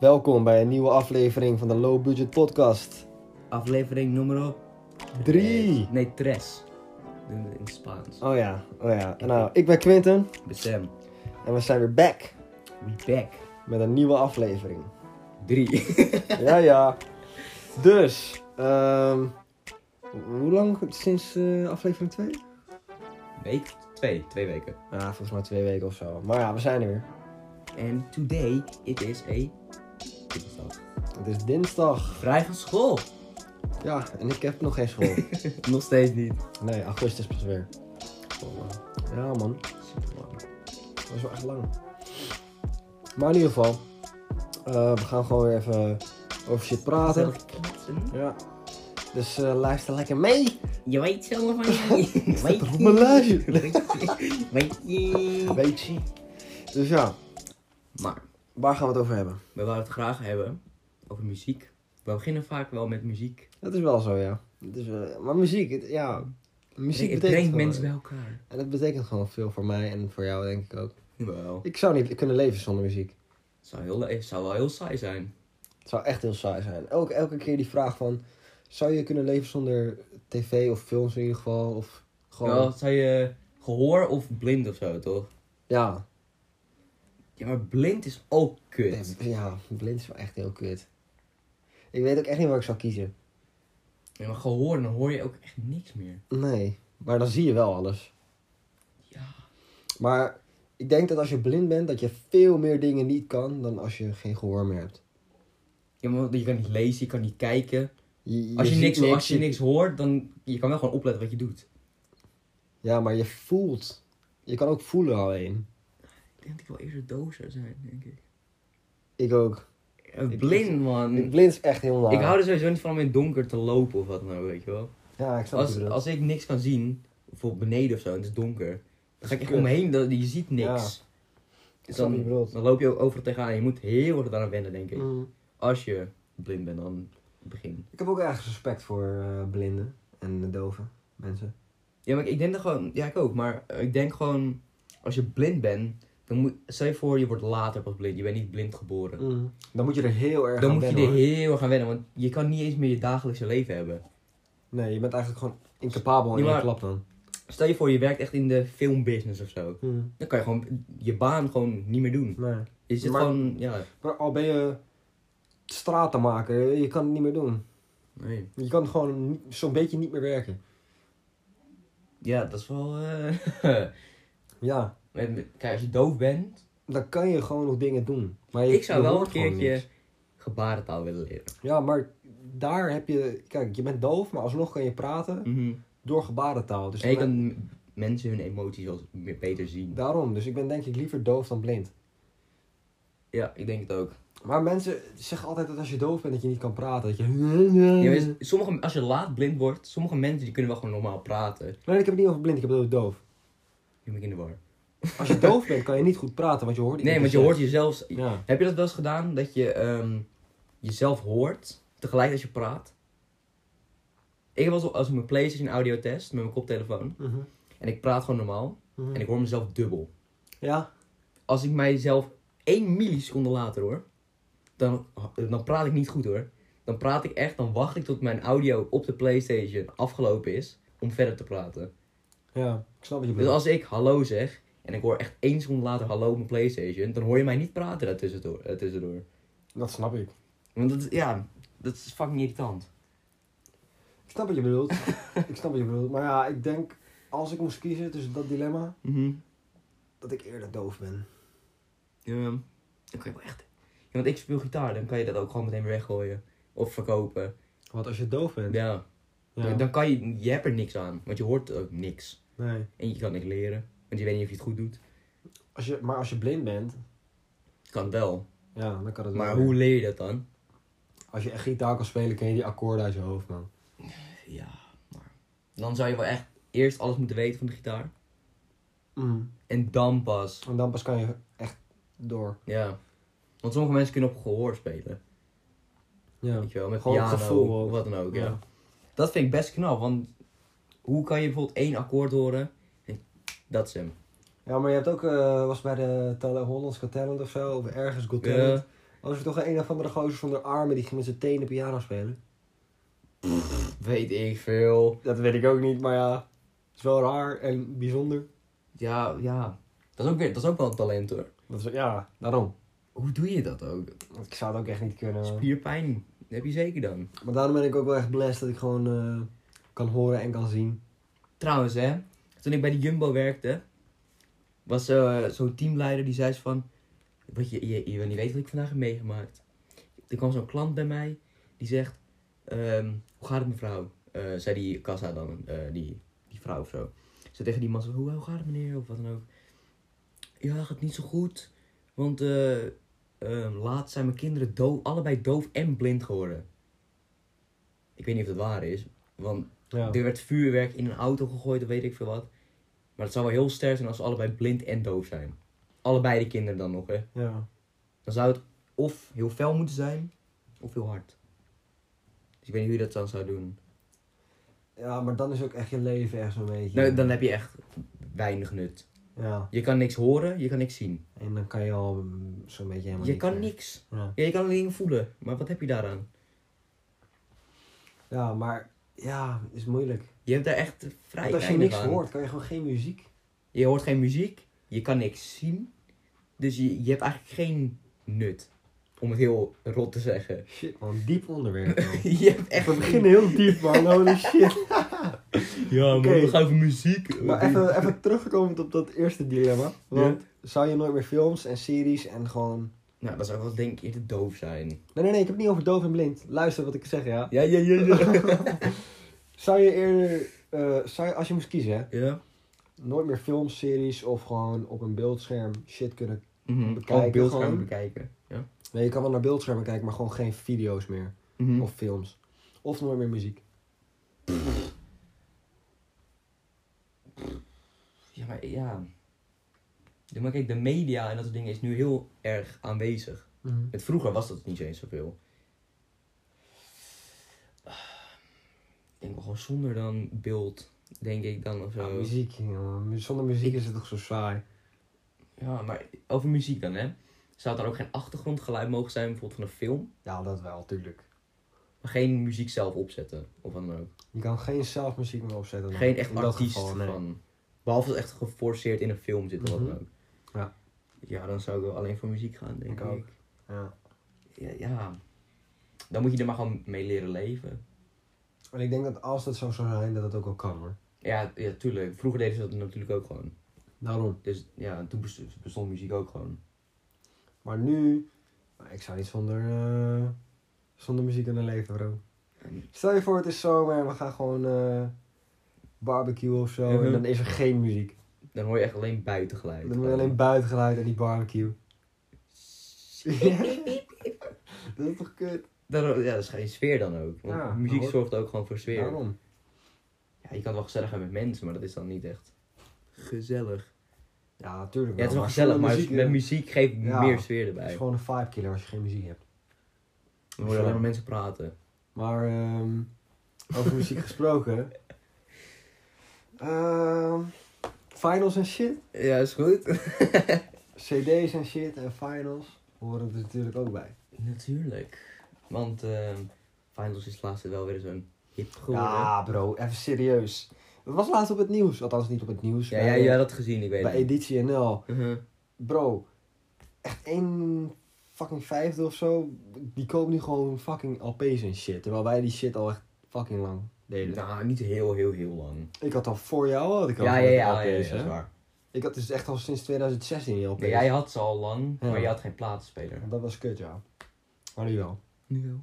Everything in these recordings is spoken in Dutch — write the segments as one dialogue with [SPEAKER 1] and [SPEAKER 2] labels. [SPEAKER 1] Welkom bij een nieuwe aflevering van de Low Budget Podcast.
[SPEAKER 2] Aflevering nummer
[SPEAKER 1] 3.
[SPEAKER 2] Nee, tres. Doen we in Spaans.
[SPEAKER 1] Oh ja, oh ja. Nou, ik ben Quinten
[SPEAKER 2] Besem,
[SPEAKER 1] en we zijn weer back
[SPEAKER 2] we back.
[SPEAKER 1] met een nieuwe aflevering.
[SPEAKER 2] Drie.
[SPEAKER 1] Ja, ja. Dus, ehm, hoe lang sinds eh, aflevering 2?
[SPEAKER 2] Week twee, twee weken.
[SPEAKER 1] Ja, volgens mij twee weken of zo. Maar ja, we zijn er weer.
[SPEAKER 2] En today it is a... Dit is dat.
[SPEAKER 1] Het is dinsdag.
[SPEAKER 2] Vrij van school.
[SPEAKER 1] Ja, en ik heb nog geen school.
[SPEAKER 2] Nog steeds niet.
[SPEAKER 1] Nee, augustus pas weer. Ja, man.
[SPEAKER 2] Superlang.
[SPEAKER 1] Dat is wel echt lang. Maar in ieder geval, eh, we gaan gewoon weer even over shit praten.
[SPEAKER 2] Gezellig kletsen.
[SPEAKER 1] Ja. Dus eh, luister lekker mee.
[SPEAKER 2] Je weet zelf van je.
[SPEAKER 1] Staat er op mijn lijstje.
[SPEAKER 2] Weet je. Weet je.
[SPEAKER 1] Weet je. Dus ja,
[SPEAKER 2] Maar,
[SPEAKER 1] waar gaan we het over hebben?
[SPEAKER 2] we willen het graag hebben over muziek. We beginnen vaak wel met muziek.
[SPEAKER 1] Dat is wel zo, ja. Het is, eh, maar muziek, het- ja. Muziek betekent
[SPEAKER 2] het brengt
[SPEAKER 1] gewoon-
[SPEAKER 2] mensen bij elkaar.
[SPEAKER 1] En dat betekent gewoon veel voor mij en voor jou, denk ik ook.
[SPEAKER 2] Wel.
[SPEAKER 1] Ik zou niet kunnen leven zonder muziek.
[SPEAKER 2] Het zou, heel, het zou wel heel saai zijn.
[SPEAKER 1] Het zou echt heel saai zijn. Elke, elke keer die vraag van... Zou je kunnen leven zonder tv of films in ieder geval? Of gewoon...
[SPEAKER 2] Ja, dat zou je gehoor of blind of zo, toch?
[SPEAKER 1] Ja.
[SPEAKER 2] Ja, maar blind is ook kut.
[SPEAKER 1] Nee, Ja, blind is wel echt heel kut. Ik weet ook echt niet waar ik zou kiezen.
[SPEAKER 2] Ja, maar gehoor, dan hoor je ook echt niks meer.
[SPEAKER 1] Nee, maar dan zie je wel alles.
[SPEAKER 2] Ja.
[SPEAKER 1] Maar ik denk dat als je blind bent, dat je veel meer dingen niet kan dan als je geen gehoor meer hebt.
[SPEAKER 2] Ja, maar je kan niet lezen, je kan niet kijken.
[SPEAKER 1] Je,
[SPEAKER 2] Als je,
[SPEAKER 1] ziet
[SPEAKER 2] niks, als je niks hoort, dan je kan wel gewoon opletten wat je doet.
[SPEAKER 1] Ja, maar je voelt. Je kan ook voelen alleen.
[SPEAKER 2] Ik denk dat ik wel eerder doos zou zijn, denk ik.
[SPEAKER 1] Ik ook.
[SPEAKER 2] Eh,
[SPEAKER 1] Ik-
[SPEAKER 2] Blind, man. Ik,
[SPEAKER 1] Blind is echt heel naar.
[SPEAKER 2] hou er sowieso niet van om in het donker te lopen of wat nou, weet je wel.
[SPEAKER 1] Ja, ik snap het
[SPEAKER 2] Als,
[SPEAKER 1] wel.
[SPEAKER 2] als ik niks kan zien, bijvoorbeeld beneden of zo, en het is donker, dan ga ik echt
[SPEAKER 1] Kut.
[SPEAKER 2] omheen, dan, je ziet niks.
[SPEAKER 1] snap wat je
[SPEAKER 2] Dus dan,
[SPEAKER 1] bedoelt.
[SPEAKER 2] dan loop je ook overal tegenaan. Je moet heel erg daaraan wennen, denk ik.
[SPEAKER 1] Mm.
[SPEAKER 2] Als je blind bent, dan het begin.
[SPEAKER 1] Ik heb ook ergens respect voor eh, blinden en doven mensen.
[SPEAKER 2] Ja, maar ik- ik denk dat gewoon... Ja, ik ook. Maar eh, ik denk gewoon... Als je blind bent, dan moet... Stel je voor, je wordt later pas blind. Je bent niet blind geboren.
[SPEAKER 1] Mm. Dan moet je er heel erg
[SPEAKER 2] Dan
[SPEAKER 1] aan
[SPEAKER 2] moet je
[SPEAKER 1] wennen,
[SPEAKER 2] er
[SPEAKER 1] hoor.
[SPEAKER 2] heel erg aan wennen. Want je kan niet eens meer je dagelijkse leven hebben.
[SPEAKER 1] Nee, je bent eigenlijk gewoon incapabel
[SPEAKER 2] Ja,
[SPEAKER 1] in je
[SPEAKER 2] maar-
[SPEAKER 1] klap dan.
[SPEAKER 2] Stel je voor, je werkt echt in de filmbusiness of zo. Dan kan je gewoon je baan gewoon niet meer doen.
[SPEAKER 1] Nee.
[SPEAKER 2] Je zit
[SPEAKER 1] Maar-
[SPEAKER 2] gewoon... Ja,
[SPEAKER 1] Maar al ben je stratenmaker, je kan het niet meer doen.
[SPEAKER 2] nee.
[SPEAKER 1] Je kan gewoon niet- zo'n beetje niet meer werken.
[SPEAKER 2] Ja, dat is wel... eh,
[SPEAKER 1] Ja,
[SPEAKER 2] met- met- Kijk, als je doof bent...
[SPEAKER 1] dan kan je gewoon nog dingen doen. Maar je,
[SPEAKER 2] Ik zou
[SPEAKER 1] je
[SPEAKER 2] wel
[SPEAKER 1] hoort
[SPEAKER 2] een
[SPEAKER 1] gewoon
[SPEAKER 2] keertje
[SPEAKER 1] niks.
[SPEAKER 2] gebarentaal willen leren.
[SPEAKER 1] Ja, maar daar heb je... Kijk, je bent doof, maar alsnog kan je praten
[SPEAKER 2] Mhm.
[SPEAKER 1] door gebarentaal. Dus
[SPEAKER 2] En je
[SPEAKER 1] dan-
[SPEAKER 2] kan m- mensen hun emoties wel meer beter zien.
[SPEAKER 1] Daarom, dus ik ben denk ik liever doof dan blind.
[SPEAKER 2] Ja, ik denk het ook.
[SPEAKER 1] Maar mensen zeggen altijd dat als je doof bent dat je niet kan praten. Dat je...
[SPEAKER 2] Ja, maar is- sommige, als je laat blind wordt, sommige mensen die kunnen wel gewoon normaal praten.
[SPEAKER 1] Nee, ik heb het niet over blind, ik heb het over doof.
[SPEAKER 2] Je ben ik in de war.
[SPEAKER 1] Als je doof bent kan je niet goed praten, want je hoort niet
[SPEAKER 2] Nee, want
[SPEAKER 1] wat
[SPEAKER 2] je hoort jezelf.
[SPEAKER 1] zegt. Ja.
[SPEAKER 2] Heb je dat wel eens gedaan dat je ehm, jezelf hoort tegelijk als je praat? Ik was als mijn PlayStation audio test met mijn koptelefoon
[SPEAKER 1] Mhm,
[SPEAKER 2] en ik praat gewoon normaal
[SPEAKER 1] mhm.
[SPEAKER 2] en ik hoor mezelf dubbel.
[SPEAKER 1] Ja,
[SPEAKER 2] Als ik mijzelf één milliseconde later hoor, dan, dan praat ik niet goed hoor. Dan praat ik echt, dan wacht ik tot mijn audio op de PlayStation afgelopen is om verder te praten.
[SPEAKER 1] ja, ik snap wat je
[SPEAKER 2] Dus
[SPEAKER 1] bedoelt.
[SPEAKER 2] als ik hallo zeg en ik hoor echt één seconde later hallo op mijn PlayStation, dan hoor je mij niet praten daartussendoor. eh, tussendoor.
[SPEAKER 1] Dat snap ik.
[SPEAKER 2] Want dat, ja, dat is fucking irritant.
[SPEAKER 1] Ik snap wat je bedoelt. ik snap wat je bedoelt. Maar ja, ik denk als ik moest kiezen tussen dat dilemma, dat ik eerder doof ben.
[SPEAKER 2] Ja, ehm, dan kan je wel echt. Ja, want ik speel gitaar, dan kan je dat ook gewoon meteen weer weggooien. Of verkopen.
[SPEAKER 1] Want als je doof bent,
[SPEAKER 2] Ja.
[SPEAKER 1] ja.
[SPEAKER 2] Dan kan je, je hebt er niks aan, want je hoort ook niks.
[SPEAKER 1] nee.
[SPEAKER 2] En je kan niks leren, want je weet niet of je het goed doet.
[SPEAKER 1] Als je, maar als je blind bent,
[SPEAKER 2] Kan wel,
[SPEAKER 1] ja, dan kan het
[SPEAKER 2] maar
[SPEAKER 1] wel.
[SPEAKER 2] hoe leer je dat dan?
[SPEAKER 1] Als je echt gitaar kan spelen, ken je die akkoorden uit je hoofd, man.
[SPEAKER 2] Ja, maar. Dan zou je wel echt eerst alles moeten weten van de gitaar.
[SPEAKER 1] Mm.
[SPEAKER 2] En dan pas
[SPEAKER 1] En dan pas kan je echt door.
[SPEAKER 2] Ja. Want sommige mensen kunnen op gehoor spelen.
[SPEAKER 1] Ja.
[SPEAKER 2] Weet je wel, met
[SPEAKER 1] Gewoon
[SPEAKER 2] piano,
[SPEAKER 1] gevoel ook.
[SPEAKER 2] wat dan ook. Ja.
[SPEAKER 1] Ja.
[SPEAKER 2] Dat vind ik best knap, want hoe kan je bijvoorbeeld één akkoord horen en dat is hem.
[SPEAKER 1] ja, maar je hebt ook, eh, was bij de Tele- Hollands Got Talent of zo, of ergens Got
[SPEAKER 2] Ja.
[SPEAKER 1] Talent. Was er toch een of andere gozer zonder armen die ging met zijn tenen piano spelen?
[SPEAKER 2] Weet ik veel.
[SPEAKER 1] Dat weet ik ook niet, maar ja. Het is wel raar en bijzonder.
[SPEAKER 2] Ja, ja. Dat is ook, weer, dat is ook wel een talent hoor.
[SPEAKER 1] Dat is, ja, daarom.
[SPEAKER 2] Hoe doe je dat ook?
[SPEAKER 1] Ik zou het ook echt niet kunnen.
[SPEAKER 2] Spierpijn heb je zeker dan.
[SPEAKER 1] Maar daarom ben ik ook wel echt blessed dat ik gewoon eh, kan horen en kan zien.
[SPEAKER 2] Trouwens, hè, toen ik bij de Jumbo werkte, was eh, zo'n teamleider die zei zo van, wat je, je, je wil niet weten wat ik vandaag heb meegemaakt. Er kwam zo'n klant bij mij die zegt, ehm, hoe gaat het mevrouw? Eh, zei die kassa dan, eh, die, die vrouw of zo. Ze tegen die man, zo, hoe, hoe gaat het meneer? Of wat dan ook. Ja, het gaat niet zo goed, want eh eh, laatst zijn mijn kinderen doof, allebei doof en blind geworden. Ik weet niet of dat waar is, want
[SPEAKER 1] Ja.
[SPEAKER 2] er werd vuurwerk in een auto gegooid, of weet ik veel wat. Maar het zou wel heel sterk zijn als ze allebei blind en doof zijn. Allebei de kinderen dan nog, hè.
[SPEAKER 1] ja.
[SPEAKER 2] Dan zou het of heel fel moeten zijn, of heel hard. Dus ik weet niet hoe je dat dan zou doen.
[SPEAKER 1] Ja, maar dan is ook echt je leven echt zo'n beetje. eh,
[SPEAKER 2] Nou, dan heb je echt weinig nut.
[SPEAKER 1] Ja,
[SPEAKER 2] Je kan niks horen, je kan niks zien.
[SPEAKER 1] en dan kan je al mm, zo'n beetje helemaal
[SPEAKER 2] Je
[SPEAKER 1] niks
[SPEAKER 2] kan
[SPEAKER 1] meer.
[SPEAKER 2] niks.
[SPEAKER 1] Ja.
[SPEAKER 2] Ja, je kan alleen voelen, maar wat heb je daaraan?
[SPEAKER 1] ja, maar ja, is moeilijk.
[SPEAKER 2] Je hebt daar echt vrij
[SPEAKER 1] Want als je
[SPEAKER 2] weinig
[SPEAKER 1] niks
[SPEAKER 2] aan.
[SPEAKER 1] hoort, kan je gewoon geen muziek.
[SPEAKER 2] Je hoort geen muziek, je kan niks zien. Dus je, je hebt eigenlijk geen nut. Om het heel rot te zeggen.
[SPEAKER 1] Shit man, diep onderwerp. man.
[SPEAKER 2] Je hebt echt
[SPEAKER 1] We beginnen heel diep man, holy shit.
[SPEAKER 2] Ja, maar
[SPEAKER 1] Oké.
[SPEAKER 2] we gaan over muziek.
[SPEAKER 1] Maar even, even terugkomend op dat eerste dilemma. Want zou je nooit meer films en series en gewoon...
[SPEAKER 2] Nou, dat zou wel denk ik eerder doof zijn.
[SPEAKER 1] Nee, nee, nee, ik heb het niet over doof en blind. Luister wat ik zeg, ja.
[SPEAKER 2] Ja, ja, ja, ja.
[SPEAKER 1] Zou je eerder, eh, zou je, als je moest kiezen, hè,
[SPEAKER 2] ja?
[SPEAKER 1] nooit meer films, series of gewoon op een beeldscherm shit kunnen...
[SPEAKER 2] Mhm.
[SPEAKER 1] Bekijken
[SPEAKER 2] Ook beeldschermen
[SPEAKER 1] gewoon.
[SPEAKER 2] bekijken. Ja.
[SPEAKER 1] Nee, je kan wel naar beeldschermen kijken, maar gewoon geen video's meer.
[SPEAKER 2] Mhm.
[SPEAKER 1] Of films. Of nooit meer muziek.
[SPEAKER 2] ja, maar ja. Ja, Maar kijk, de media en dat soort dingen is nu heel erg aanwezig. Het vroeger was dat niet eens zoveel. Ik denk wel gewoon zonder dan beeld, denk ik dan of
[SPEAKER 1] Ja,
[SPEAKER 2] zo.
[SPEAKER 1] muziek, jongen. Zonder muziek is het toch zo saai.
[SPEAKER 2] Ja, maar over muziek dan, hè. Zou het dan ook geen achtergrondgeluid mogen zijn, bijvoorbeeld van een film?
[SPEAKER 1] Ja, dat wel, tuurlijk.
[SPEAKER 2] Maar geen muziek zelf opzetten, of wat dan ook.
[SPEAKER 1] Je kan geen zelf muziek meer opzetten. man.
[SPEAKER 2] Geen echt
[SPEAKER 1] In dat
[SPEAKER 2] artiest
[SPEAKER 1] geval, nee.
[SPEAKER 2] van. Behalve als het echt geforceerd in een film zit of wat dan
[SPEAKER 1] Mhm.
[SPEAKER 2] ook.
[SPEAKER 1] Ja.
[SPEAKER 2] Ja, dan zou ik wel alleen voor muziek gaan,
[SPEAKER 1] Ik
[SPEAKER 2] denk ik.
[SPEAKER 1] ook. Ja.
[SPEAKER 2] Ja, ja. Dan moet je er maar gewoon mee leren leven.
[SPEAKER 1] En ik denk dat als dat zo zou zijn, dat dat ook wel kan hoor.
[SPEAKER 2] Ja, ja, tuurlijk. Vroeger deden ze dat natuurlijk ook gewoon.
[SPEAKER 1] Daarom.
[SPEAKER 2] Dus ja, toen best- bestond muziek ook gewoon.
[SPEAKER 1] Maar nu, nou, ik zou niet zonder, eh, zonder muziek kunnen leven bro.
[SPEAKER 2] En-
[SPEAKER 1] Stel je voor het is zomer en we gaan gewoon eh barbecue of zo
[SPEAKER 2] Mhm.
[SPEAKER 1] en dan is er geen muziek.
[SPEAKER 2] Dan hoor je echt alleen buitengeluid.
[SPEAKER 1] Dan hoor je alleen buitengeluid en die barbecue. dat is toch kut?
[SPEAKER 2] Daarom- Eh, Ja, dat is geen sfeer dan ook. Want
[SPEAKER 1] Ja,
[SPEAKER 2] muziek
[SPEAKER 1] hoor.
[SPEAKER 2] zorgt ook gewoon voor sfeer.
[SPEAKER 1] Daarom.
[SPEAKER 2] Ja, je kan wel gezellig zijn met mensen, maar dat is dan niet echt gezellig.
[SPEAKER 1] Ja, natuurlijk
[SPEAKER 2] Ja, het is wel
[SPEAKER 1] maar
[SPEAKER 2] gezellig,
[SPEAKER 1] zonder
[SPEAKER 2] maar
[SPEAKER 1] muziek,
[SPEAKER 2] met
[SPEAKER 1] eh,
[SPEAKER 2] muziek geeft
[SPEAKER 1] Ja.
[SPEAKER 2] meer sfeer
[SPEAKER 1] Het
[SPEAKER 2] erbij.
[SPEAKER 1] is gewoon een vibe killer als je geen muziek hebt.
[SPEAKER 2] We horen alleen maar mensen praten.
[SPEAKER 1] Maar ehm, over muziek gesproken. Ehm, finals en shit.
[SPEAKER 2] Ja, is goed.
[SPEAKER 1] CD's en shit en finals horen er natuurlijk ook bij.
[SPEAKER 2] Natuurlijk. Want ehm Finals is laatst wel weer zo'n hip geworden. Ja,
[SPEAKER 1] Ja, bro, even serieus. Dat was laatst op het nieuws. Althans, niet op het nieuws.
[SPEAKER 2] ja,
[SPEAKER 1] bij-
[SPEAKER 2] jij had dat gezien, ik weet
[SPEAKER 1] bij
[SPEAKER 2] het.
[SPEAKER 1] Editie NL.
[SPEAKER 2] Mhm.
[SPEAKER 1] Bro, echt één fucking vijfde of zo. Die koopt nu gewoon fucking LP's en shit. Terwijl wij die shit al echt fucking lang deden.
[SPEAKER 2] Nou, niet heel, heel, heel lang.
[SPEAKER 1] Ik had al voor jou had ik al
[SPEAKER 2] Ja, ja, ja,
[SPEAKER 1] LP's,
[SPEAKER 2] ja, ja,
[SPEAKER 1] hè?
[SPEAKER 2] dat is waar.
[SPEAKER 1] Ik had dus echt al sinds 2016 LP's.
[SPEAKER 2] Nee, jij had ze al lang,
[SPEAKER 1] Ja.
[SPEAKER 2] maar je had geen platenspeler.
[SPEAKER 1] Dat was kut, ja. Maar nu wel.
[SPEAKER 2] Nu wel.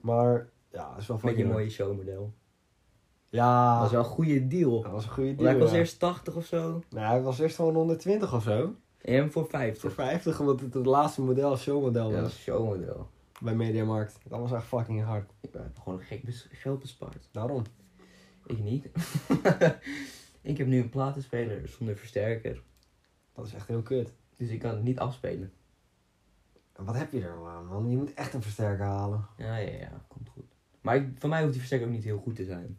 [SPEAKER 1] Maar ja, dat is wel
[SPEAKER 2] Met je
[SPEAKER 1] fucking leuk.
[SPEAKER 2] mooie showmodel.
[SPEAKER 1] Ja,
[SPEAKER 2] Dat was wel een goede deal.
[SPEAKER 1] dat was een goede
[SPEAKER 2] Want
[SPEAKER 1] deal.
[SPEAKER 2] hij was
[SPEAKER 1] ja.
[SPEAKER 2] eerst 80 of zo.
[SPEAKER 1] Nou, hij was eerst gewoon 120 of zo.
[SPEAKER 2] En hem voor
[SPEAKER 1] Voor
[SPEAKER 2] 50.
[SPEAKER 1] 50, omdat het het laatste model, showmodel
[SPEAKER 2] Ja, dat
[SPEAKER 1] was.
[SPEAKER 2] is showmodel.
[SPEAKER 1] Bij Mediamarkt. Dat was echt fucking hard.
[SPEAKER 2] Ik heb gewoon gek bes- geld bespaard.
[SPEAKER 1] Daarom.
[SPEAKER 2] Ik niet. ik heb nu een platenspeler zonder versterker.
[SPEAKER 1] Dat is echt heel kut.
[SPEAKER 2] Dus ik kan het niet afspelen.
[SPEAKER 1] En wat heb je er nou aan, man? Je moet echt een versterker halen.
[SPEAKER 2] Ja, ja, ja, komt goed. Maar ik, voor mij hoeft die versterker ook niet heel goed te zijn.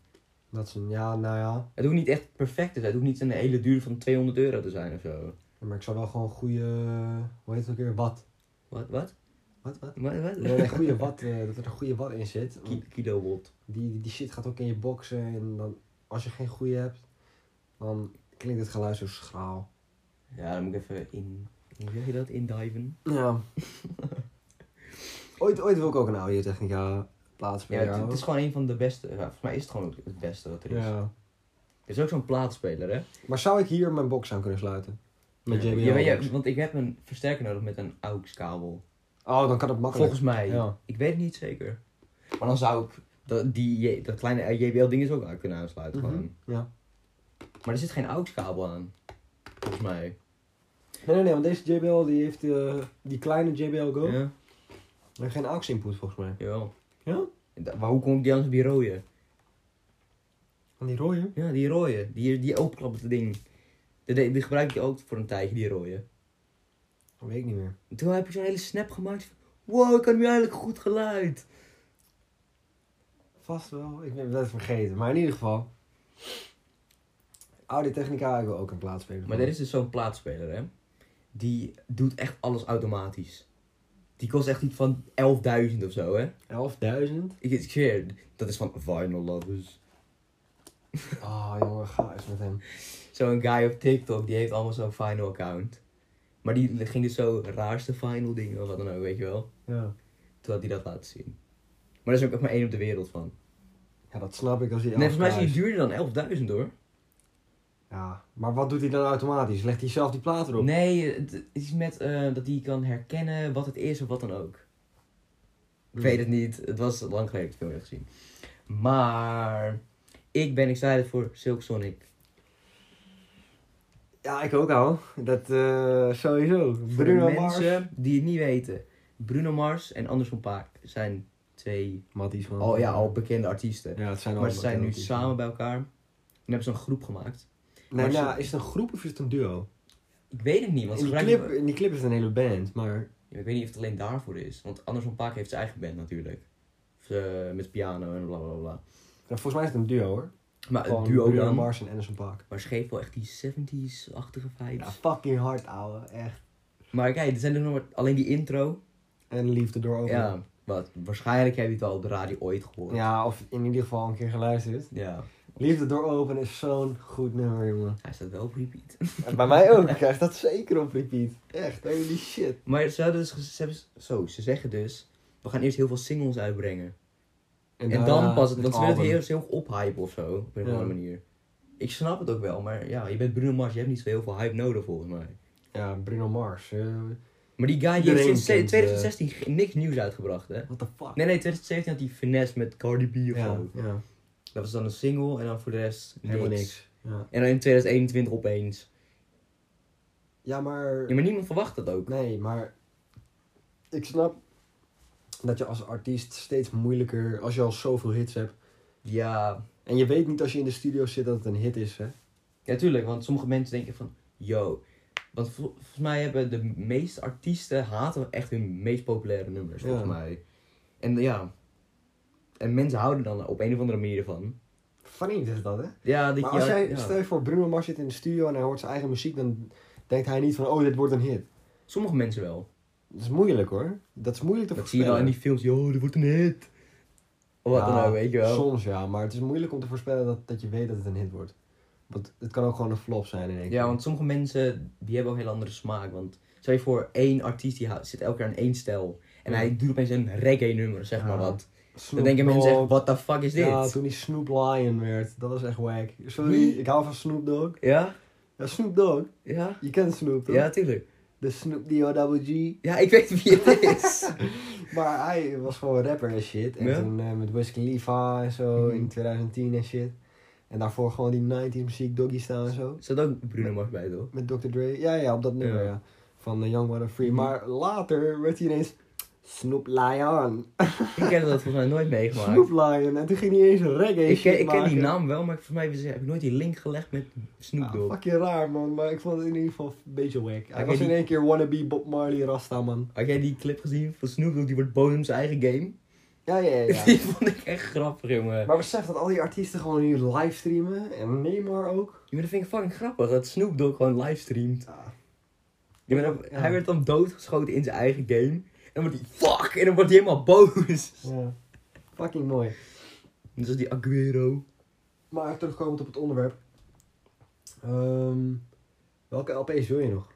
[SPEAKER 1] Dat is een, ja, nou ja.
[SPEAKER 2] Het hoeft niet echt perfect te zijn. Het hoeft niet een hele duur van 200 euro te zijn of zo.
[SPEAKER 1] Maar ik zou wel gewoon goede, hoe heet het ook weer, wat?
[SPEAKER 2] Wat, wat?
[SPEAKER 1] Wat, wat?
[SPEAKER 2] Maar, wat?
[SPEAKER 1] Nee, een goede wat, eh, dat er een goede wat in zit. Want
[SPEAKER 2] Ki- kilowatt.
[SPEAKER 1] Die, die shit gaat ook in je boxen en dan, als je geen goede hebt, dan klinkt het geluid zo schraal.
[SPEAKER 2] Ja, dan moet ik even in... Hoe zeg je dat? Indiven?
[SPEAKER 1] Ja. ooit, ooit wil ik ook een audiotechnica plaats bij
[SPEAKER 2] Ja, het,
[SPEAKER 1] jou.
[SPEAKER 2] het is gewoon een van de beste. Ja, volgens mij is het gewoon ook het beste wat er is.
[SPEAKER 1] Ja.
[SPEAKER 2] Er is ook zo'n plaatspeler, hè?
[SPEAKER 1] Maar zou ik hier mijn box aan kunnen sluiten? Met
[SPEAKER 2] Ja,
[SPEAKER 1] JBL
[SPEAKER 2] ja, maar ja,
[SPEAKER 1] box.
[SPEAKER 2] want ik heb een versterker nodig met een AUX-kabel.
[SPEAKER 1] Oh, dan kan het makkelijk.
[SPEAKER 2] Volgens mij.
[SPEAKER 1] Ja.
[SPEAKER 2] Ik weet het niet zeker. Maar dan zou ik dat, die, dat kleine JBL-ding is ook aan kunnen aansluiten.
[SPEAKER 1] Mhm,
[SPEAKER 2] gewoon.
[SPEAKER 1] Ja.
[SPEAKER 2] Maar er zit geen AUX-kabel aan. Volgens mij.
[SPEAKER 1] Nee, nee, nee, want deze JBL die heeft eh, die kleine JBL Go.
[SPEAKER 2] Ja,
[SPEAKER 1] Maar geen aux input volgens mij.
[SPEAKER 2] jawel.
[SPEAKER 1] Ja?
[SPEAKER 2] Da- Maar hoe kom ik die anders op die rode?
[SPEAKER 1] Van die rode?
[SPEAKER 2] Ja, die rode. Die, die openklappende ding. Die, die die gebruik je ook voor een tijdje, die rode.
[SPEAKER 1] Dat weet ik niet meer.
[SPEAKER 2] En toen heb ik zo'n hele snap gemaakt. van, Wow, ik kan nu eigenlijk goed geluid.
[SPEAKER 1] Vast wel. Ik ben het vergeten. Maar in ieder geval. Audiotechnica, ik wil ook een plaatspeler.
[SPEAKER 2] Maar er is dus zo'n plaatspeler, hè. Die doet echt alles automatisch. Die kost echt iets van 11.000 of zo, hè.
[SPEAKER 1] 11.000.
[SPEAKER 2] Ik, ik zweer, dat is van Vinyl Lovers.
[SPEAKER 1] Ah, jongen, ga eens met hem.
[SPEAKER 2] Zo'n guy op TikTok, die heeft allemaal zo'n Vinyl account. Maar die ging dus zo raarste Vinyl dingen of wat dan ook, weet je wel.
[SPEAKER 1] Ja.
[SPEAKER 2] Toen had hij dat laten zien. Maar er is ook echt maar één op de wereld van.
[SPEAKER 1] Ja, dat snap ik als hij.
[SPEAKER 2] Nee, volgens mij is die
[SPEAKER 1] 11.000.
[SPEAKER 2] duurder dan 11.000 hoor.
[SPEAKER 1] Ja, maar wat doet hij dan automatisch? Legt hij zelf die plaat erop?
[SPEAKER 2] Nee, het is met eh, dat hij kan herkennen wat het is of wat dan ook. Ik
[SPEAKER 1] Hmm.
[SPEAKER 2] weet het niet. Het was lang geleden dat ik het film heb gezien. Maar ik ben excited voor Silk Sonic.
[SPEAKER 1] Ja, ik ook al. Dat eh, sowieso.
[SPEAKER 2] Voor
[SPEAKER 1] Bruno
[SPEAKER 2] de
[SPEAKER 1] Mars.
[SPEAKER 2] mensen die het niet weten. Bruno Mars en Anders van Paak zijn twee
[SPEAKER 1] Matties man.
[SPEAKER 2] al, Oh, ja, al bekende artiesten.
[SPEAKER 1] Ja, het zijn
[SPEAKER 2] maar
[SPEAKER 1] al
[SPEAKER 2] ze zijn nu
[SPEAKER 1] matties, man.
[SPEAKER 2] samen bij elkaar. En hebben ze een groep gemaakt.
[SPEAKER 1] Nee,
[SPEAKER 2] maar ze-
[SPEAKER 1] nou, is het een groep of is het een duo?
[SPEAKER 2] Ik weet het niet, want ze
[SPEAKER 1] In die,
[SPEAKER 2] gebruiken-
[SPEAKER 1] clip, in die clip is het een hele band, maar...
[SPEAKER 2] Ja, ik weet niet of het alleen daarvoor is. Want Anders van Paak heeft zijn eigen band natuurlijk. Of, eh, met piano en bla bla bla.
[SPEAKER 1] Nou, volgens mij is het een duo hoor.
[SPEAKER 2] Maar het
[SPEAKER 1] Van
[SPEAKER 2] Ah, duo
[SPEAKER 1] Bruno
[SPEAKER 2] dan.
[SPEAKER 1] Mars en Anderson Paak.
[SPEAKER 2] Maar scheef wel echt die 70s-achtige vibes.
[SPEAKER 1] Ja, fucking hard ouwe, echt.
[SPEAKER 2] Maar kijk, er zijn er nog maar alleen die intro.
[SPEAKER 1] En Liefde door over.
[SPEAKER 2] Ja, wat, waarschijnlijk heb je het al op de radio ooit gehoord.
[SPEAKER 1] Oh, Ja, of in ieder geval een keer geluisterd.
[SPEAKER 2] Ja.
[SPEAKER 1] Liefde door open is zo'n goed nummer, jongen.
[SPEAKER 2] Hij staat wel op repeat.
[SPEAKER 1] En bij mij ook, krijgt dat zeker op repeat. Echt, holy shit.
[SPEAKER 2] Maar ze, hadden dus, ge- ze hebben s- zo, ze zeggen dus, we gaan eerst heel veel singles uitbrengen. En, dan
[SPEAKER 1] daarna
[SPEAKER 2] pas het,
[SPEAKER 1] eh, het
[SPEAKER 2] want ze willen het
[SPEAKER 1] album.
[SPEAKER 2] eerst heel erg ophypen of zo, op een
[SPEAKER 1] Ja.
[SPEAKER 2] andere manier. Ik snap het ook wel, maar ja, je bent Bruno Mars, je hebt niet zo heel veel hype nodig volgens mij.
[SPEAKER 1] Ja, Bruno Mars. eh,
[SPEAKER 2] Maar die guy die heeft
[SPEAKER 1] Iedereen
[SPEAKER 2] sinds
[SPEAKER 1] kent, eh,
[SPEAKER 2] 2016 ge- niks nieuws uitgebracht, hè?
[SPEAKER 1] what the fuck.
[SPEAKER 2] Nee, nee, 2017 had hij Finesse met Cardi B of
[SPEAKER 1] ja,
[SPEAKER 2] zo.
[SPEAKER 1] ja,
[SPEAKER 2] Dat was dan een single en dan voor de rest
[SPEAKER 1] helemaal
[SPEAKER 2] niks.
[SPEAKER 1] niks. Ja.
[SPEAKER 2] En dan in 2021 opeens.
[SPEAKER 1] ja, maar...
[SPEAKER 2] Ja, maar niemand verwacht dat ook.
[SPEAKER 1] Nee, maar ik snap dat je als artiest steeds moeilijker, als je al zoveel hits hebt.
[SPEAKER 2] Ja,
[SPEAKER 1] En je weet niet als je in de studio zit dat het een hit is, hè?
[SPEAKER 2] ja tuurlijk, want sommige mensen denken van, yo. Want vol- volgens mij hebben de meeste artiesten haten echt hun meest populaire nummers,
[SPEAKER 1] Ja.
[SPEAKER 2] volgens mij. En ja, en mensen houden dan op een of andere manier van.
[SPEAKER 1] Funny is dat, hè?
[SPEAKER 2] Ja, dat
[SPEAKER 1] Maar
[SPEAKER 2] je...
[SPEAKER 1] als jij,
[SPEAKER 2] ja.
[SPEAKER 1] stel je voor, Bruno Mars zit in de studio en hij hoort zijn eigen muziek, dan denkt hij niet van, oh, dit wordt een hit.
[SPEAKER 2] Sommige mensen wel.
[SPEAKER 1] Dat is moeilijk, hoor. Dat is moeilijk te
[SPEAKER 2] Dat zie je wel in die films, yo, dit wordt een hit. Of wat dan
[SPEAKER 1] Ja,
[SPEAKER 2] ook, weet je wel.
[SPEAKER 1] Soms ja, maar het is moeilijk om te voorspellen dat, dat je weet dat het een hit wordt. Want het kan ook gewoon een flop zijn in één keer.
[SPEAKER 2] Ja, want sommige mensen die hebben ook een hele andere smaak. Want stel je voor, één artiest die houdt- zit elke keer aan één stijl. En
[SPEAKER 1] Ja.
[SPEAKER 2] hij doet opeens een reggae nummer, zeg maar
[SPEAKER 1] Ja.
[SPEAKER 2] wat. Dan
[SPEAKER 1] Snoop
[SPEAKER 2] denken mensen echt,
[SPEAKER 1] Dogg.
[SPEAKER 2] what the fuck is dit? Hm?
[SPEAKER 1] Ja,
[SPEAKER 2] Ja?
[SPEAKER 1] toen die Snoop Lion werd, dat was echt wack.
[SPEAKER 2] Wie?
[SPEAKER 1] Sorry, ik hou van Snoop Dogg.
[SPEAKER 2] Ja?
[SPEAKER 1] Ja, Snoop Dogg.
[SPEAKER 2] Ja,
[SPEAKER 1] Je kent Snoop, toch?
[SPEAKER 2] tuurlijk.
[SPEAKER 1] De Snoop D-O-double-G.
[SPEAKER 2] Ja, ik weet wie het is.
[SPEAKER 1] Maar hij was gewoon rapper en shit. En
[SPEAKER 2] Ja.
[SPEAKER 1] toen eh, met Wiz Khalifa en zo
[SPEAKER 2] Mhm.
[SPEAKER 1] in 2010 en shit. En daarvoor gewoon die 90s muziek, Doggy Style en zo.
[SPEAKER 2] Er Zat ook Bruno Mars bij, toch?
[SPEAKER 1] Met Dr. Dre. Ja, ja, op dat nummer,
[SPEAKER 2] Ja.
[SPEAKER 1] ja. Van eh, Young Water Free.
[SPEAKER 2] Mhm.
[SPEAKER 1] Maar later werd hij ineens Snoop Lion.
[SPEAKER 2] Ik heb dat volgens mij nooit
[SPEAKER 1] Snoop
[SPEAKER 2] meegemaakt.
[SPEAKER 1] Lion. En toen ging hij eens reggae
[SPEAKER 2] Ik,
[SPEAKER 1] shit
[SPEAKER 2] ken- ik ken die
[SPEAKER 1] maken.
[SPEAKER 2] naam wel, maar volgens mij heb ik nooit die link gelegd met Snoop
[SPEAKER 1] Ja,
[SPEAKER 2] Dogg.
[SPEAKER 1] fucking raar, man. Maar ik vond het in ieder geval een beetje wack. Hij
[SPEAKER 2] Oké,
[SPEAKER 1] was in
[SPEAKER 2] die-
[SPEAKER 1] één keer wannabe Bob Marley Rasta, man.
[SPEAKER 2] Had jij die clip gezien van Snoop Dogg, die wordt boos om zijn eigen game?
[SPEAKER 1] Ja, ja, ja. ja.
[SPEAKER 2] Die vond ik echt grappig, jongen.
[SPEAKER 1] maar besef dat al die artiesten gewoon nu livestreamen. En Neymar ook. Ah,
[SPEAKER 2] Ja, maar dat vind ik fucking grappig, dat Snoop Dogg gewoon livestreamt.
[SPEAKER 1] Ja.
[SPEAKER 2] Ja, maar dan-
[SPEAKER 1] Ja.
[SPEAKER 2] Hij werd dan doodgeschoten in zijn eigen game. dan wordt hij fuck. En dan wordt hij helemaal boos.
[SPEAKER 1] Ja. Fucking mooi.
[SPEAKER 2] Net als die Aguero.
[SPEAKER 1] Maar terugkomend op het onderwerp. Ehm, welke LP's wil je nog?